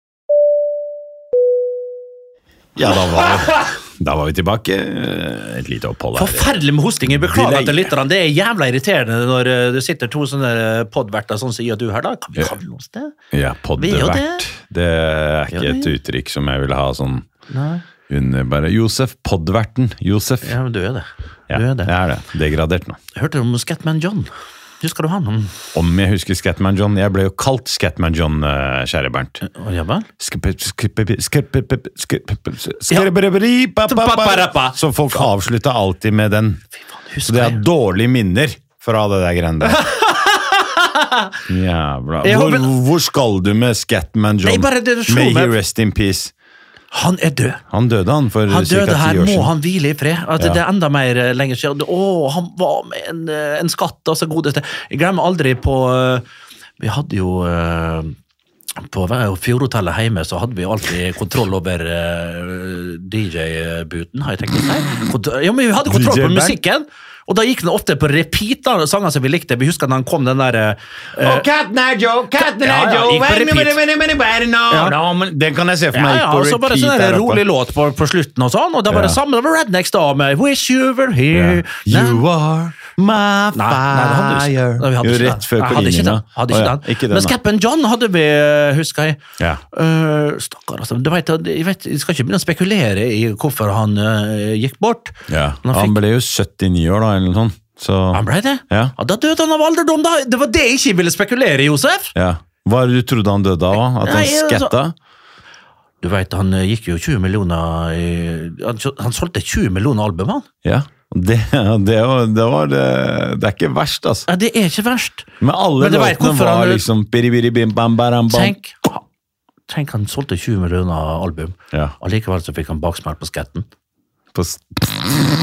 Speaker 5: Ja, da var, da var vi tilbake. Eh, Et lite opphold her.
Speaker 4: Forferdelig med hosting. Jeg beklager
Speaker 5: Delay.
Speaker 4: til lytterne. Det er jævla irriterende når eh, det sitter to sånne podverter sånn som jeg og du her, da. Kan vi
Speaker 5: Ja.
Speaker 4: kalle oss det? Vi
Speaker 5: Ja,
Speaker 4: er jo
Speaker 5: poddevert. Det er ikke
Speaker 4: Ja,
Speaker 5: et
Speaker 4: det
Speaker 5: uttrykk som jeg ville ha sånn
Speaker 4: Nei.
Speaker 5: under bare Josef, poddverten. Josef.
Speaker 4: Ja, men du er det.
Speaker 5: Ja,
Speaker 4: Du er det.
Speaker 5: Jeg er det. Degradert nå.
Speaker 4: Jeg hørte om Scatman John. Husker du han? Mm.
Speaker 5: Om jeg husker Scatman John. Jeg ble jo kalt Scatman John, eh, kjære Bernt.
Speaker 4: Å, ja vel?
Speaker 5: Så folk avslutta alltid med den. Så
Speaker 4: Husker
Speaker 5: det er
Speaker 4: jeg.
Speaker 5: dårlige minner fra det der greiene der. Jævla.
Speaker 4: Jeg
Speaker 5: Hvor,
Speaker 4: håper-
Speaker 5: hvor skal du med Scatman John?
Speaker 4: Nei, bare det slo
Speaker 5: May he
Speaker 4: meg.
Speaker 5: rest in peace.
Speaker 4: Han er død.
Speaker 5: Han døde, han, for
Speaker 4: Han
Speaker 5: ca.
Speaker 4: døde
Speaker 5: ti
Speaker 4: her,
Speaker 5: år
Speaker 4: må
Speaker 5: siden.
Speaker 4: han hvile i fred. At
Speaker 5: Ja.
Speaker 4: Det er enda mer eh, lenger siden. Å, han var med en, eh, en skatt, altså godeste. Jeg glemmer aldri på eh, Vi hadde jo eh, på vei- Fjordhotellet hjemme så hadde vi alltid kontroll over DJ-booten, har jeg tenkt å si. Kont- Ja, men vi hadde kontroll
Speaker 5: DJ
Speaker 4: på
Speaker 5: Bernt?
Speaker 4: musikken, og da gikk den ofte på repeat, da, sanger som vi likte. Vi husker da han kom den eh, derre
Speaker 5: Å, Katten er Oh, Joe, katten
Speaker 4: Ja,
Speaker 5: er
Speaker 4: ja,
Speaker 5: Joe
Speaker 4: gikk på
Speaker 5: Wait a
Speaker 4: repeat.
Speaker 5: minute, minute, minute, wait a minute.
Speaker 4: Ja.
Speaker 5: Ja, men Den kan jeg se for
Speaker 4: Ja,
Speaker 5: meg
Speaker 4: ja,
Speaker 5: gikk på
Speaker 4: og så bare sånn
Speaker 5: repeat
Speaker 4: der
Speaker 5: der oppe.
Speaker 4: rolig låt på, på slutten og sånn, og da var det
Speaker 5: Ja.
Speaker 4: samme, det var Rednecks da med Wish You Were Here. Nei.
Speaker 5: Ja. You are my
Speaker 4: Nei, nei, det hadde vi ikke.
Speaker 5: fire
Speaker 4: Nei, vi hadde
Speaker 5: Jo,
Speaker 4: ikke
Speaker 5: rett
Speaker 4: den.
Speaker 5: før
Speaker 4: Nei, hadde ikke
Speaker 5: Kolinina.
Speaker 4: den. Hadde
Speaker 5: Å,
Speaker 4: ikke
Speaker 5: ja,
Speaker 4: den.
Speaker 5: ikke den,
Speaker 4: Men
Speaker 5: nei.
Speaker 4: Cap'n John hadde vi, husker jeg.
Speaker 5: Ja.
Speaker 4: Eh, stakkar, altså. Du vet, jeg, vet, jeg skal ikke begynne å spekulere i hvorfor han eh, gikk bort.
Speaker 5: Ja.
Speaker 4: Men han
Speaker 5: Han
Speaker 4: fikk-
Speaker 5: ble jo 79 år, da, eller noe sånt. Så
Speaker 4: Han ble det?
Speaker 5: Ja.
Speaker 4: Da døde han av alderdom, da! Det var det jeg ikke ville spekulere i, Josef!
Speaker 5: ja. Hva er det du trodde han døde av? da? At
Speaker 4: Nei,
Speaker 5: han
Speaker 4: altså-
Speaker 5: skatta?
Speaker 4: Du vet, han eh, gikk jo 20 millioner i, han, han solgte 20 millioner album, han.
Speaker 5: Ja. Det, det, var, det, var, det, det er ikke verst, altså.
Speaker 4: Ja, det er ikke verst.
Speaker 5: Men alle
Speaker 4: Men du vet
Speaker 5: låtene
Speaker 4: hvorfor
Speaker 5: var
Speaker 4: han-
Speaker 5: liksom biri, biri, bim, bam, baram, bam.
Speaker 4: Tenk, tenk han solgte 20 millioner album,
Speaker 5: Ja,
Speaker 4: og likevel så fikk han baksmell på skatten.
Speaker 5: på s-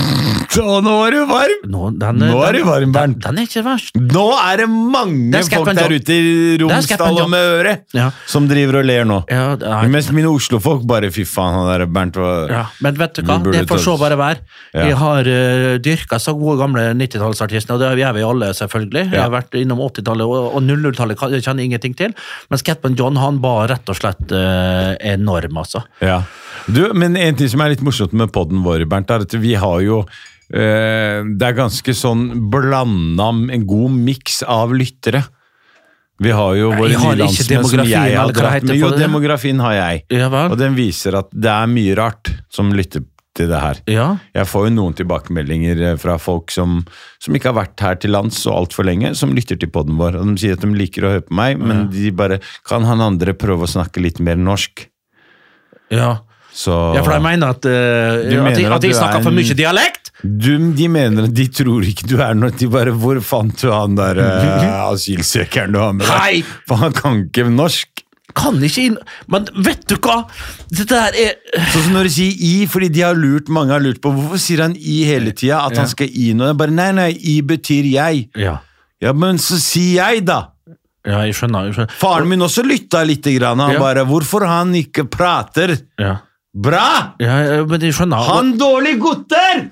Speaker 5: Så nå er du varm!
Speaker 4: Nå, den,
Speaker 5: Nå er det varm,
Speaker 4: den,
Speaker 5: Bernt.
Speaker 4: den er ikke verst.
Speaker 5: Nå er det mange
Speaker 4: Der skal jeg
Speaker 5: folk
Speaker 4: på en
Speaker 5: der
Speaker 4: jobb.
Speaker 5: ute i
Speaker 4: Der skal jeg på en
Speaker 5: Romsdal og
Speaker 4: jobb.
Speaker 5: Møre
Speaker 4: Ja.
Speaker 5: som driver og ler nå.
Speaker 4: Ja, det er-
Speaker 5: Mens mine Oslo-folk bare Fy faen, han der Bernt var
Speaker 4: Ja, men vet du hva,
Speaker 5: Vi burde
Speaker 4: det får
Speaker 5: ta-
Speaker 4: så bare være.
Speaker 5: Ja.
Speaker 4: Vi har uh, dyrka så gode gamle 90-tallsartister, og det gjør vi alle, selvfølgelig. Jeg
Speaker 5: Ja.
Speaker 4: har vært innom 80-tallet, og, og 00-tallet kan- jeg kjenner ingenting til. Men Scatman John han var rett og slett eh, enorm, altså.
Speaker 5: Ja. Du, men en ting som er litt morsomt med podden vår, Bernt, er at vi har jo eh, Det er ganske sånn blanda en god miks av lyttere. Vi har jo våre
Speaker 4: Jeg har
Speaker 5: nye
Speaker 4: ikke
Speaker 5: landsmenn som
Speaker 4: demografien,
Speaker 5: jeg har
Speaker 4: eller hva
Speaker 5: dratt
Speaker 4: heter
Speaker 5: med. Jo,
Speaker 4: på det?
Speaker 5: demografien har jeg.
Speaker 4: Ja
Speaker 5: Og
Speaker 4: vel?
Speaker 5: den viser at det er mye rart som lytter til det her.
Speaker 4: Ja.
Speaker 5: Jeg får jo noen tilbakemeldinger eh, fra folk som, som ikke har vært her til lands så altfor lenge, som lytter til podden vår. Og de sier at de liker å høre på meg, men de bare Kan han andre prøve å snakke litt mer norsk?
Speaker 4: ja.
Speaker 5: Så
Speaker 4: Ja, for jeg mener at, eh,
Speaker 5: Du
Speaker 4: at,
Speaker 5: mener
Speaker 4: jeg,
Speaker 5: at
Speaker 4: at
Speaker 5: du
Speaker 4: jeg
Speaker 5: er
Speaker 4: snakker for
Speaker 5: en-
Speaker 4: mye dialekt!
Speaker 5: du, De mener at de tror ikke du er noe. De bare Hvor fant du han der eh, asylsøkeren du har med
Speaker 4: Hei!
Speaker 5: deg? For han kan ikke norsk.
Speaker 4: Kan ikke inn... Men vet du hva? Det der er
Speaker 5: Sånn som når de sier i, fordi de har lurt, mange har lurt på hvorfor sier han i hele tida? At han skal i noe? Jeg Bare nei, nei, i betyr jeg.
Speaker 4: Ja,
Speaker 5: Ja, men så sier jeg, da!
Speaker 4: ja jeg skjønner. Jeg skjønner.
Speaker 5: Faren min også lytta lite grann. Han
Speaker 4: Ja.
Speaker 5: bare 'Hvorfor han ikke prater?'
Speaker 4: Ja.
Speaker 5: Bra!
Speaker 4: Ja, ja, men jeg skjønner.
Speaker 5: Han dårlige gutter!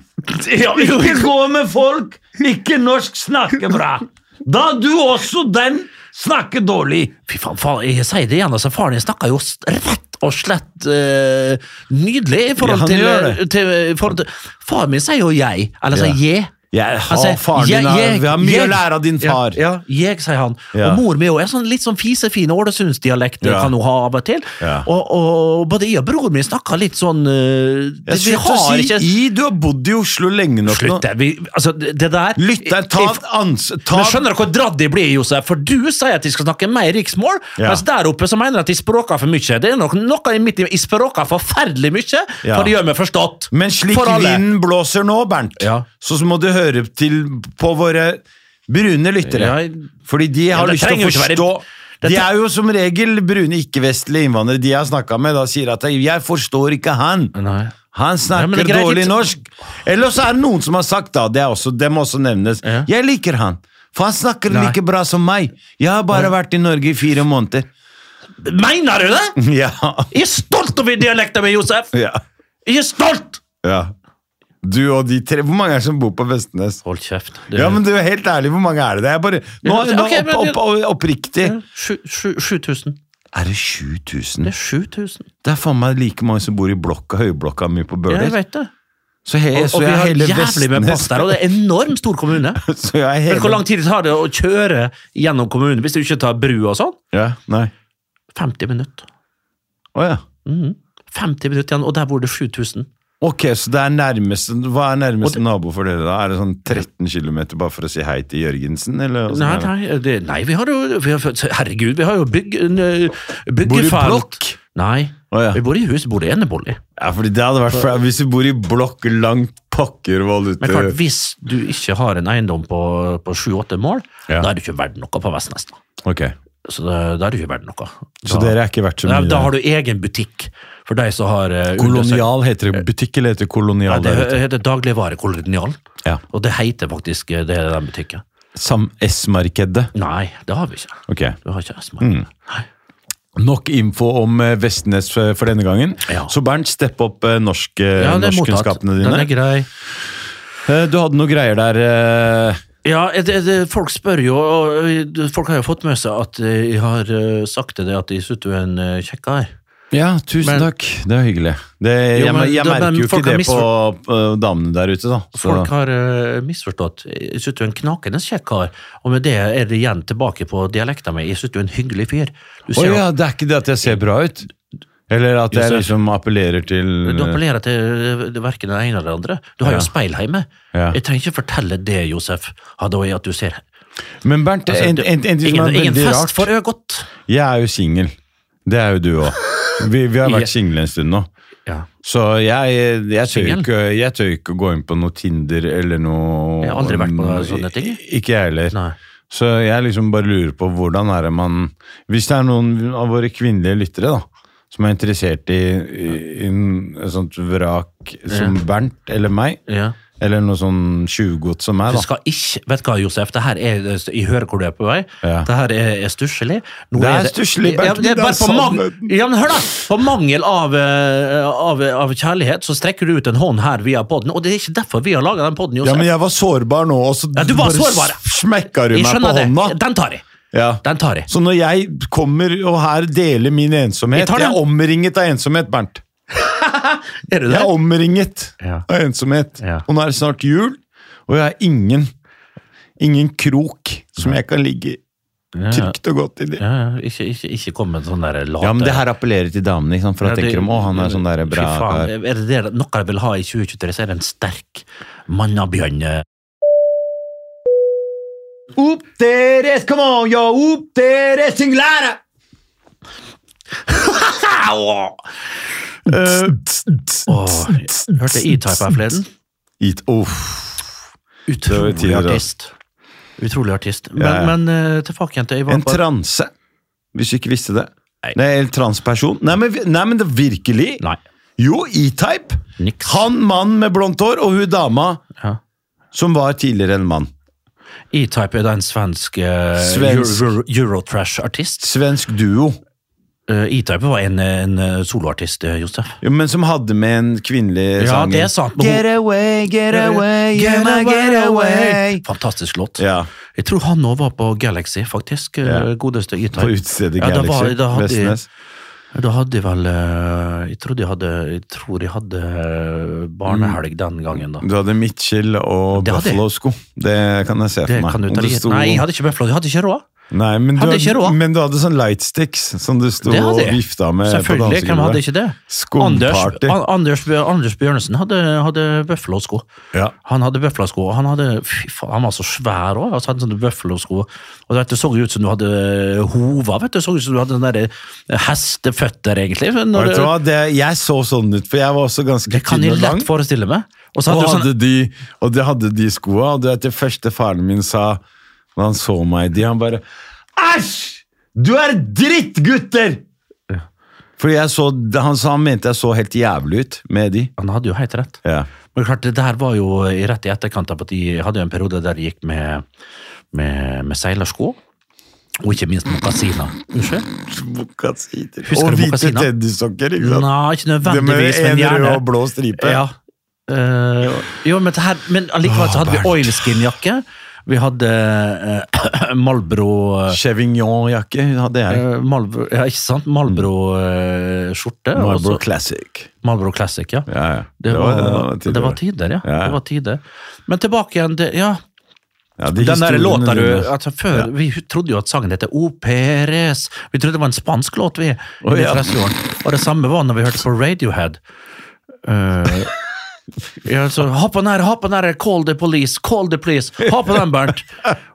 Speaker 4: ja, jo,
Speaker 5: Ikke gå med folk! Ikke norsk snakke bra! Da du også den snakker dårlig.
Speaker 4: Fy faen, faen, jeg sier det igjen, altså, faren din snakker jo s- rett og slett eh, nydelig i
Speaker 5: Ja,
Speaker 4: forhold
Speaker 5: han
Speaker 4: til, eh,
Speaker 5: gjør det.
Speaker 4: til, i forhold til Faren min sier jo jeg, eller sier
Speaker 5: Ja.
Speaker 4: jeg.
Speaker 5: Jeg har
Speaker 4: Altså,
Speaker 5: faren din
Speaker 4: jeg-
Speaker 5: er,
Speaker 4: jeg-
Speaker 5: Vi har mye
Speaker 4: jeg-
Speaker 5: å lære av din far.
Speaker 4: Ja, ja jeg, sier han.
Speaker 5: Ja.
Speaker 4: Og mor mi også er sånn, litt sånn fisefin ålesundsdialekt
Speaker 5: Ja.
Speaker 4: kan hun ha av og til.
Speaker 5: Ja.
Speaker 4: Og, og både jeg og broren min snakker litt sånn eh,
Speaker 5: Jeg
Speaker 4: Vi
Speaker 5: slutter å
Speaker 4: har
Speaker 5: si
Speaker 4: ikke
Speaker 5: i. Du har bodd i Oslo lenge nok
Speaker 4: Slutt,
Speaker 5: nå.
Speaker 4: det. Vi, altså, det det der
Speaker 5: Lytter, ta
Speaker 4: Jeg-
Speaker 5: ans... Ta
Speaker 4: Men skjønner du hvor dratt de blir, Josef? For du sier at de skal snakke mer riksmål,
Speaker 5: Ja.
Speaker 4: mens der oppe så mener de at de språker for mye. Det er nok noe i midt i Jeg språker forferdelig mye,
Speaker 5: Ja.
Speaker 4: for det gjør meg forstått.
Speaker 5: Men slik
Speaker 4: for alle.
Speaker 5: vinden blåser nå, Bernt,
Speaker 4: Ja.
Speaker 5: så så må du høre til på våre brune lyttere.
Speaker 4: Ja.
Speaker 5: Fordi de har
Speaker 4: det
Speaker 5: lyst til
Speaker 4: trenger jo
Speaker 5: å
Speaker 4: ikke være-
Speaker 5: forstå
Speaker 4: Det
Speaker 5: De
Speaker 4: tre-
Speaker 5: er jo som regel brune ikke-vestlige innvandrere. De jeg har snakka med, da sier at 'jeg forstår ikke han'.
Speaker 4: Nei.
Speaker 5: Han
Speaker 4: Nei, men
Speaker 5: snakker
Speaker 4: det er greit,
Speaker 5: dårlig
Speaker 4: litt-
Speaker 5: norsk. Eller så er det noen som har sagt, da, det er også, det må også nevnes,
Speaker 4: Ja.
Speaker 5: 'jeg liker han', for han snakker
Speaker 4: Nei.
Speaker 5: like bra som meg. Jeg har bare vært i Norge i fire måneder.
Speaker 4: Mener du det?!
Speaker 5: Ja.
Speaker 4: Jeg er stolt over dialekten min, Josef!
Speaker 5: ja.
Speaker 4: Jeg er stolt!
Speaker 5: ja. Du og de tre Hvor mange er det som bor på Vestnes?
Speaker 4: Hold kjeft.
Speaker 5: Ja, men du, helt ærlig, hvor mange er det? det? er bare, nå,
Speaker 4: Ja,
Speaker 5: nå,
Speaker 4: ok,
Speaker 5: opp,
Speaker 4: men-
Speaker 5: opp, opp, oppriktig.
Speaker 4: 7000.
Speaker 5: Er det 7000?
Speaker 4: Det er 7000.
Speaker 5: Det er faen meg like mange som bor i blokka, høyblokka mi på
Speaker 4: Ja,
Speaker 5: Bøler.
Speaker 4: jeg vet det.
Speaker 5: så he,
Speaker 4: Og,
Speaker 5: så
Speaker 4: og vi
Speaker 5: jeg
Speaker 4: har
Speaker 5: hele
Speaker 4: jævlig med
Speaker 5: Vestnes-
Speaker 4: pass der, og det er en enormt stor kommune.
Speaker 5: Så jeg
Speaker 4: Vet
Speaker 5: er
Speaker 4: du hvor lang
Speaker 5: hele...
Speaker 4: tid det tar det å kjøre gjennom kommunen hvis du ikke tar bru og sånn?
Speaker 5: Ja, nei.
Speaker 4: 50 minutter.
Speaker 5: Å ja.
Speaker 4: Mhm. 50 minutter igjen, og der bor det 7000.
Speaker 5: Ok, så det er nærmeste, Hva er
Speaker 4: Og
Speaker 5: nærmeste
Speaker 4: det-
Speaker 5: nabo for dere, da? Er det sånn 13 km bare for å si hei til Jørgensen? Eller
Speaker 4: Nei, nei, det, nei vi har jo vi har, Herregud, vi har jo eh, bygg, nø- byggefelt.
Speaker 5: blokk?
Speaker 4: Nei.
Speaker 5: Å, ja.
Speaker 4: Vi bor i hus, vi bor i enebolig.
Speaker 5: Ja, fordi det hadde vært fra, Hvis du bor i blokk langt Pakkervoll ute
Speaker 4: Men klart, hvis du ikke har en eiendom på, på 7-8 mål,
Speaker 5: Ja.
Speaker 4: da er du ikke verdt noe på Vestnes. da.
Speaker 5: Ok,
Speaker 4: Så da, da er du ikke verdt noe. Da,
Speaker 5: Så dere er ikke verdt så
Speaker 4: da,
Speaker 5: mye?
Speaker 4: da har du egen butikk for deg som har eh, undersøkt-
Speaker 5: Kolonial heter det. Butikk eller heter det
Speaker 4: Eh. Ja,
Speaker 5: kolonial?
Speaker 4: det
Speaker 5: der ute?
Speaker 4: heter dagligvarekolonial,
Speaker 5: Ja.
Speaker 4: og det heter faktisk eh, det den butikken.
Speaker 5: Sam S-markedet.
Speaker 4: Nei, det har vi ikke.
Speaker 5: Ok.
Speaker 4: Vi har ikke
Speaker 5: Mm.
Speaker 4: Esmark. Nei.
Speaker 5: Nok info om eh, Vestnes eh, for denne gangen.
Speaker 4: Ja.
Speaker 5: Så Bernt, stepp opp eh, norsk, eh,
Speaker 4: Ja, det er mottatt.
Speaker 5: norskkunnskapene
Speaker 4: Den
Speaker 5: dine.
Speaker 4: er grei.
Speaker 5: Eh, Du hadde noen greier der eh,
Speaker 4: Ja, er det, er det, folk spør jo, og eh, folk har jo fått med seg at eh, jeg har eh, sagt til det at jeg sutter en eh, kjekk her.
Speaker 5: Ja, tusen
Speaker 4: Men-
Speaker 5: takk. Det er hyggelig. Det, jeg,
Speaker 4: Jo, men
Speaker 5: jeg
Speaker 4: da-
Speaker 5: merker
Speaker 4: men
Speaker 5: jo ikke
Speaker 4: folk har
Speaker 5: det på eh, damene der ute, da. Så,
Speaker 4: Folk har eh, misforstått. Jeg sutter en knakende kjekk her, og med det er det igjen tilbake på dialekten min. Jeg sutter en hyggelig fyr. Du
Speaker 5: Å
Speaker 4: ser
Speaker 5: ja, det er ikke det at jeg ser bra ut? Eller at jeg
Speaker 4: Josef.
Speaker 5: liksom appellerer til
Speaker 4: jo- du appellerer til eh, hverken det ene eller det andre. Du har
Speaker 5: Ja.
Speaker 4: jo speil hjemme.
Speaker 5: Ja.
Speaker 4: Jeg trenger ikke fortelle det, Josef, Hadoi, at du ser
Speaker 5: Men Bernt,
Speaker 4: Altså,
Speaker 5: en,
Speaker 4: det-
Speaker 5: en, en ting som
Speaker 4: Ingen,
Speaker 5: er
Speaker 4: ingen
Speaker 5: veldig
Speaker 4: fest
Speaker 5: rart
Speaker 4: for øyegodt.
Speaker 5: Jeg er jo singel. Det er jo du òg. Vi, vi har
Speaker 4: Ja.
Speaker 5: vært single en stund nå.
Speaker 4: Ja.
Speaker 5: Så jeg, jeg, tør
Speaker 4: Singel?
Speaker 5: ikke, jeg tør ikke å gå inn på noe Tinder eller noe
Speaker 4: Jeg har aldri vært på sånne ting.
Speaker 5: Ikke jeg heller.
Speaker 4: Nei.
Speaker 5: Så jeg liksom bare lurer på hvordan er det man Hvis det er noen av våre kvinnelige lyttere da, som er interessert i, i, i en- et sånt vrak som Bernt eller meg,
Speaker 4: Ja.
Speaker 5: eller noe sånn tjuvgodt som meg,
Speaker 4: Du
Speaker 5: da.
Speaker 4: skal ikke, vet du hva, Josef, det her er, jeg hører hvor du er på vei.
Speaker 5: Ja.
Speaker 4: Det her er, er stusslig. Nå
Speaker 5: Det er stusslig,
Speaker 4: ja,
Speaker 5: Bernt,
Speaker 4: det er
Speaker 5: det er
Speaker 4: bare på, mang,
Speaker 5: sannheten.
Speaker 4: ja, men hør da, på mangel av, eh, av, av kjærlighet så strekker du ut en hånd her via podden, og det er ikke derfor vi har laget den podden, Josef.
Speaker 5: Ja, men jeg var sårbar nå, og så
Speaker 4: Ja, du var
Speaker 5: bare
Speaker 4: sårbar.
Speaker 5: s- smekka du
Speaker 4: jeg,
Speaker 5: meg på
Speaker 4: skjønner det.
Speaker 5: hånda.
Speaker 4: Den tar jeg.
Speaker 5: Ja.
Speaker 4: Den tar jeg.
Speaker 5: Så når jeg kommer og her deler min
Speaker 4: Jeg
Speaker 5: ensomhet
Speaker 4: tar
Speaker 5: Jeg,
Speaker 4: den.
Speaker 5: er omringet av ensomhet, Bernt.
Speaker 4: Er du der?
Speaker 5: Jeg er omringet
Speaker 4: Ja.
Speaker 5: av ensomhet.
Speaker 4: Ja.
Speaker 5: Og nå er det snart jul, og jeg har ingen Ingen krok som jeg kan ligge trygt og godt i. det.
Speaker 4: Ja, ja, ikke, ikke, ikke kom med en sånn der late...
Speaker 5: Ja, men det her appellerer til damene, ikke sant? for da
Speaker 4: Ja, det-
Speaker 5: tenker de å, han er sånn der bra
Speaker 4: Fy
Speaker 5: kar.
Speaker 4: faen, er det det, noe jeg vil ha i 2023, så er det en sterk mannabjørn. eh,
Speaker 5: Opp deres, come on, yo! Opp deres, singlære!
Speaker 4: Eh, Åh, hørte E-Type her forleden?
Speaker 5: It, uff. var jo
Speaker 4: Utrolig
Speaker 5: tidligere, da.
Speaker 4: artist. Utrolig artist. Men,
Speaker 5: Ja, ja.
Speaker 4: men eh, tilbake igjen til jeg var
Speaker 5: En
Speaker 4: på
Speaker 5: transe, hvis du ikke visste det.
Speaker 4: Nei.
Speaker 5: Nei, en transperson. Nei, men, vi- nei, men det virkelig.
Speaker 4: Nei,
Speaker 5: Jo, E-Type.
Speaker 4: niks.
Speaker 5: Han mannen med blondt hår, og hun dama
Speaker 4: Ja.
Speaker 5: som var tidligere en mann.
Speaker 4: E-Type er da en svensk, eh,
Speaker 5: Svensk.
Speaker 4: Euro, Eurotrash-artist.
Speaker 5: Svensk duo.
Speaker 4: Eh, E-Type var en, en eh, soloartist, eh, Josef.
Speaker 5: Jo, men som hadde med en kvinnelig
Speaker 4: Ja,
Speaker 5: sanger.
Speaker 4: det er sant. men hun-
Speaker 5: Get away, get away, get away, get away.
Speaker 4: Fantastisk låt.
Speaker 5: Ja,
Speaker 4: Jeg tror han òg var på Galaxy, faktisk. eh,
Speaker 5: Ja.
Speaker 4: Godeste E-Type.
Speaker 5: på utstedet
Speaker 4: Ja, da var-
Speaker 5: Galaxy.
Speaker 4: da hadde-
Speaker 5: Vestnes.
Speaker 4: Da hadde de vel eh, Jeg tror de hadde, jeg tror de hadde eh, barnehelg den gangen, da.
Speaker 5: Du hadde Mitchell og
Speaker 4: Det hadde jeg.
Speaker 5: Buffalo-sko. Det kan jeg se
Speaker 4: Det
Speaker 5: for meg.
Speaker 4: kan du
Speaker 5: Om
Speaker 4: ta
Speaker 5: det
Speaker 4: i.
Speaker 5: sto-
Speaker 4: Nei, jeg hadde ikke Buffalo, jeg hadde ikke råd.
Speaker 5: Nei, men, du
Speaker 4: Hadde ikke råd.
Speaker 5: men du hadde sånn lightsticks som du sto
Speaker 4: Det hadde
Speaker 5: og
Speaker 4: jeg.
Speaker 5: vifta med på
Speaker 4: Selvfølgelig, hvem hadde ikke det? Anders,
Speaker 5: Skumparty.
Speaker 4: An- Anders, Anders Bjørnesen hadde, hadde Buffalo-sko.
Speaker 5: Ja.
Speaker 4: Han hadde Buffalo-sko, og han, hadde, fy faen, han var så svær òg. Altså, hadde sånne Buffalo-sko. Og det så jo ut som du hadde eh, hova, vet du. Så ut som du hadde sånne der eh, hesteføtter, egentlig. Men når
Speaker 5: Vet du
Speaker 4: du-
Speaker 5: hva, det, jeg så sånn ut, for jeg var også ganske
Speaker 4: det kan
Speaker 5: tynn
Speaker 4: jeg
Speaker 5: og lang.
Speaker 4: lett forestille meg. Og så
Speaker 5: Og,
Speaker 4: hadde du
Speaker 5: hadde
Speaker 4: sånn
Speaker 5: de, og det hadde de skoa, og det er det første faren min sa når han så meg i de, han bare Æsj! Du er dritt, gutter! Fordi jeg så, han, sa han mente jeg så helt jævlig ut med de.
Speaker 4: Han hadde jo helt rett.
Speaker 5: Ja.
Speaker 4: Men klart, det der var jo i- rett i etterkant av at jeg hadde jo en periode der jeg gikk med, med, med seilersko. Og ikke minst mokasiner. Unnskyld?
Speaker 5: Mokasiner.
Speaker 4: Husker
Speaker 5: Og
Speaker 4: du
Speaker 5: hvite
Speaker 4: mokasiner?
Speaker 5: teddysokker, ikke sant?
Speaker 4: Nei, ikke
Speaker 5: det med
Speaker 4: nødvendigvis, men
Speaker 5: en rød
Speaker 4: gjerne.
Speaker 5: og blå stripe.
Speaker 4: Ja. Eh, jo, men, det her, men allikevel så hadde vi oilskin-jakke. Vi hadde eh, Malbro eh,
Speaker 5: Chevignon-jakke hadde jeg.
Speaker 4: eh, Malbro, ja, ikke sant? eh, Malbro-skjorte.
Speaker 5: Marlboro Classic.
Speaker 4: Malbro Classic, ja.
Speaker 5: Ja, ja.
Speaker 4: altså- Det var, det var,
Speaker 5: tidligere.
Speaker 4: tider. ja.
Speaker 5: Ja.
Speaker 4: Det var tider. Men tilbake igjen til ja,
Speaker 5: Ja, de
Speaker 4: den der
Speaker 5: historiene
Speaker 4: låta du
Speaker 5: dine.
Speaker 4: altså, før, Vi trodde jo at sangen heter O Perez. Vi trodde det var en spansk låt, vi.
Speaker 5: Å,
Speaker 4: i
Speaker 5: ja.
Speaker 4: 30-årene. Og det samme var når vi hørte på Radiohead. Eh, ja, så, ha på den her, ha på den her, call the police, call the police, ha på den, Bernt!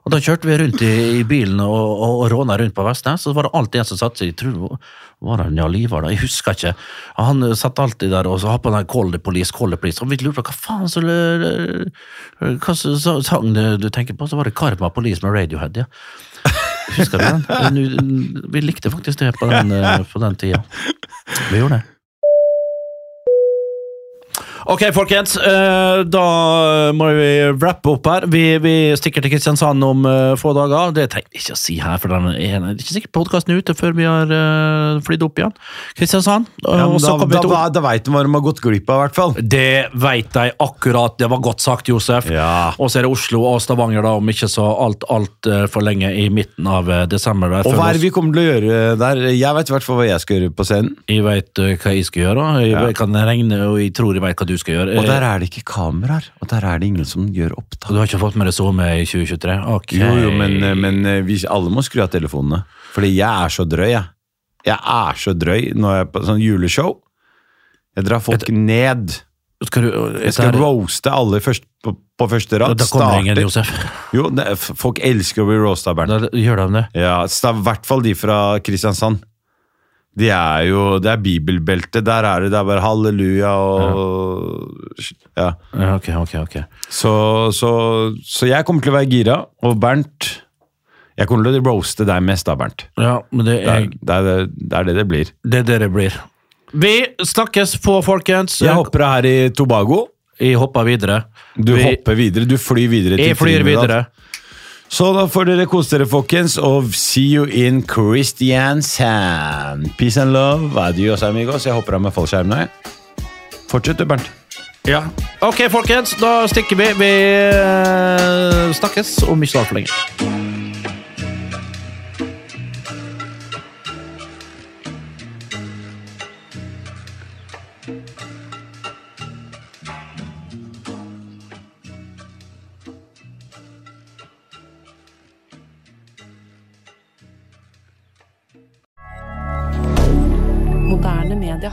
Speaker 4: Og da kjørte vi rundt i, i bilen og, og, og råna rundt på Vestnes, så var det alltid en som satt seg, jeg tror, var han ja, Livar da, jeg husker ikke, han eh, satt alltid der og så ha på den her, call the police, call the police, og vi lurte på hva faen så, eh, hva så, så, sang du- du tenker på, så var det Karma Police med Radiohead, ja. Husker du den? Nu- Vi likte faktisk det på den, eh, på den tida. Vi gjorde det. Ok, folkens. eh, Da må vi wrappe opp her. Vi, vi stikker til Kristiansand om eh, få dager. Det trenger vi ikke å si her, for den er, det er ikke sikkert podkasten er ute før vi har eh, flydd opp igjen. Kristiansand. eh,
Speaker 5: Ja, men
Speaker 4: og så
Speaker 5: da
Speaker 4: kommer
Speaker 5: da,
Speaker 4: vi til
Speaker 5: da, da veit de hva de har gått glipp av, i hvert fall.
Speaker 4: det veit de akkurat. Det var godt sagt, Josef.
Speaker 5: Ja.
Speaker 4: Og så er det Oslo og Stavanger, da, om ikke så alt, alt eh, for lenge i midten av eh, desember. der.
Speaker 5: Og
Speaker 4: Følg
Speaker 5: hva
Speaker 4: oss.
Speaker 5: er det vi kommer til å gjøre der? Jeg vet i hvert fall hva jeg skal gjøre på scenen.
Speaker 4: Jeg veit hva jeg skal gjøre. Jeg
Speaker 5: Ja.
Speaker 4: kan regne, og jeg tror jeg veit hva du skal gjøre.
Speaker 5: Og
Speaker 4: Eh,
Speaker 5: der er det ikke kameraer, og der er det ingen som gjør opptak. Eh.
Speaker 4: Du har ikke fått med deg SoMe i 2023? Ok.
Speaker 5: Jo, jo, men, men vi, alle må skru av telefonene. Fordi jeg er så drøy, jeg. Jeg er så drøy når jeg er på sånn juleshow. Jeg drar folk ned.
Speaker 4: skal du,
Speaker 5: Jeg skal
Speaker 4: der-
Speaker 5: roaste alle først, på, på første rad.
Speaker 4: Da kommer ingen,
Speaker 5: Starter-
Speaker 4: Josef.
Speaker 5: Jo, det, er- folk elsker å bli roasta, Bernt.
Speaker 4: Da gjør de det.
Speaker 5: Ja, så det er i hvert fall de fra Kristiansand. De er jo, det er bibelbeltet, der er det, det er bare halleluja og ja.
Speaker 4: Ja, ok, ok, ok.
Speaker 5: Så, så, så jeg kommer til å være gira, og Bernt Jeg kommer til å roaste deg mest, da, Bernt.
Speaker 4: Ja, men det
Speaker 5: Det
Speaker 4: er
Speaker 5: er det, er, det, er det det blir.
Speaker 4: det er det det blir. Vi snakkes på, folkens.
Speaker 5: Jeg hopper av her i Tobago.
Speaker 4: Jeg hopper videre.
Speaker 5: Du
Speaker 4: Vi-
Speaker 5: hopper videre. Du flyr videre til
Speaker 4: Jeg flyr
Speaker 5: Trinidad.
Speaker 4: videre.
Speaker 5: Så da får dere kose dere, folkens, og see you in Christiansand. Peace and love. Adios, amigos. Jeg hopper av med fallskjermene. Fortsett du, Bernt.
Speaker 4: Ja. Ok, folkens, da stikker vi. Vi eh, snakkes om ikke altfor lenge.
Speaker 7: Moderne media.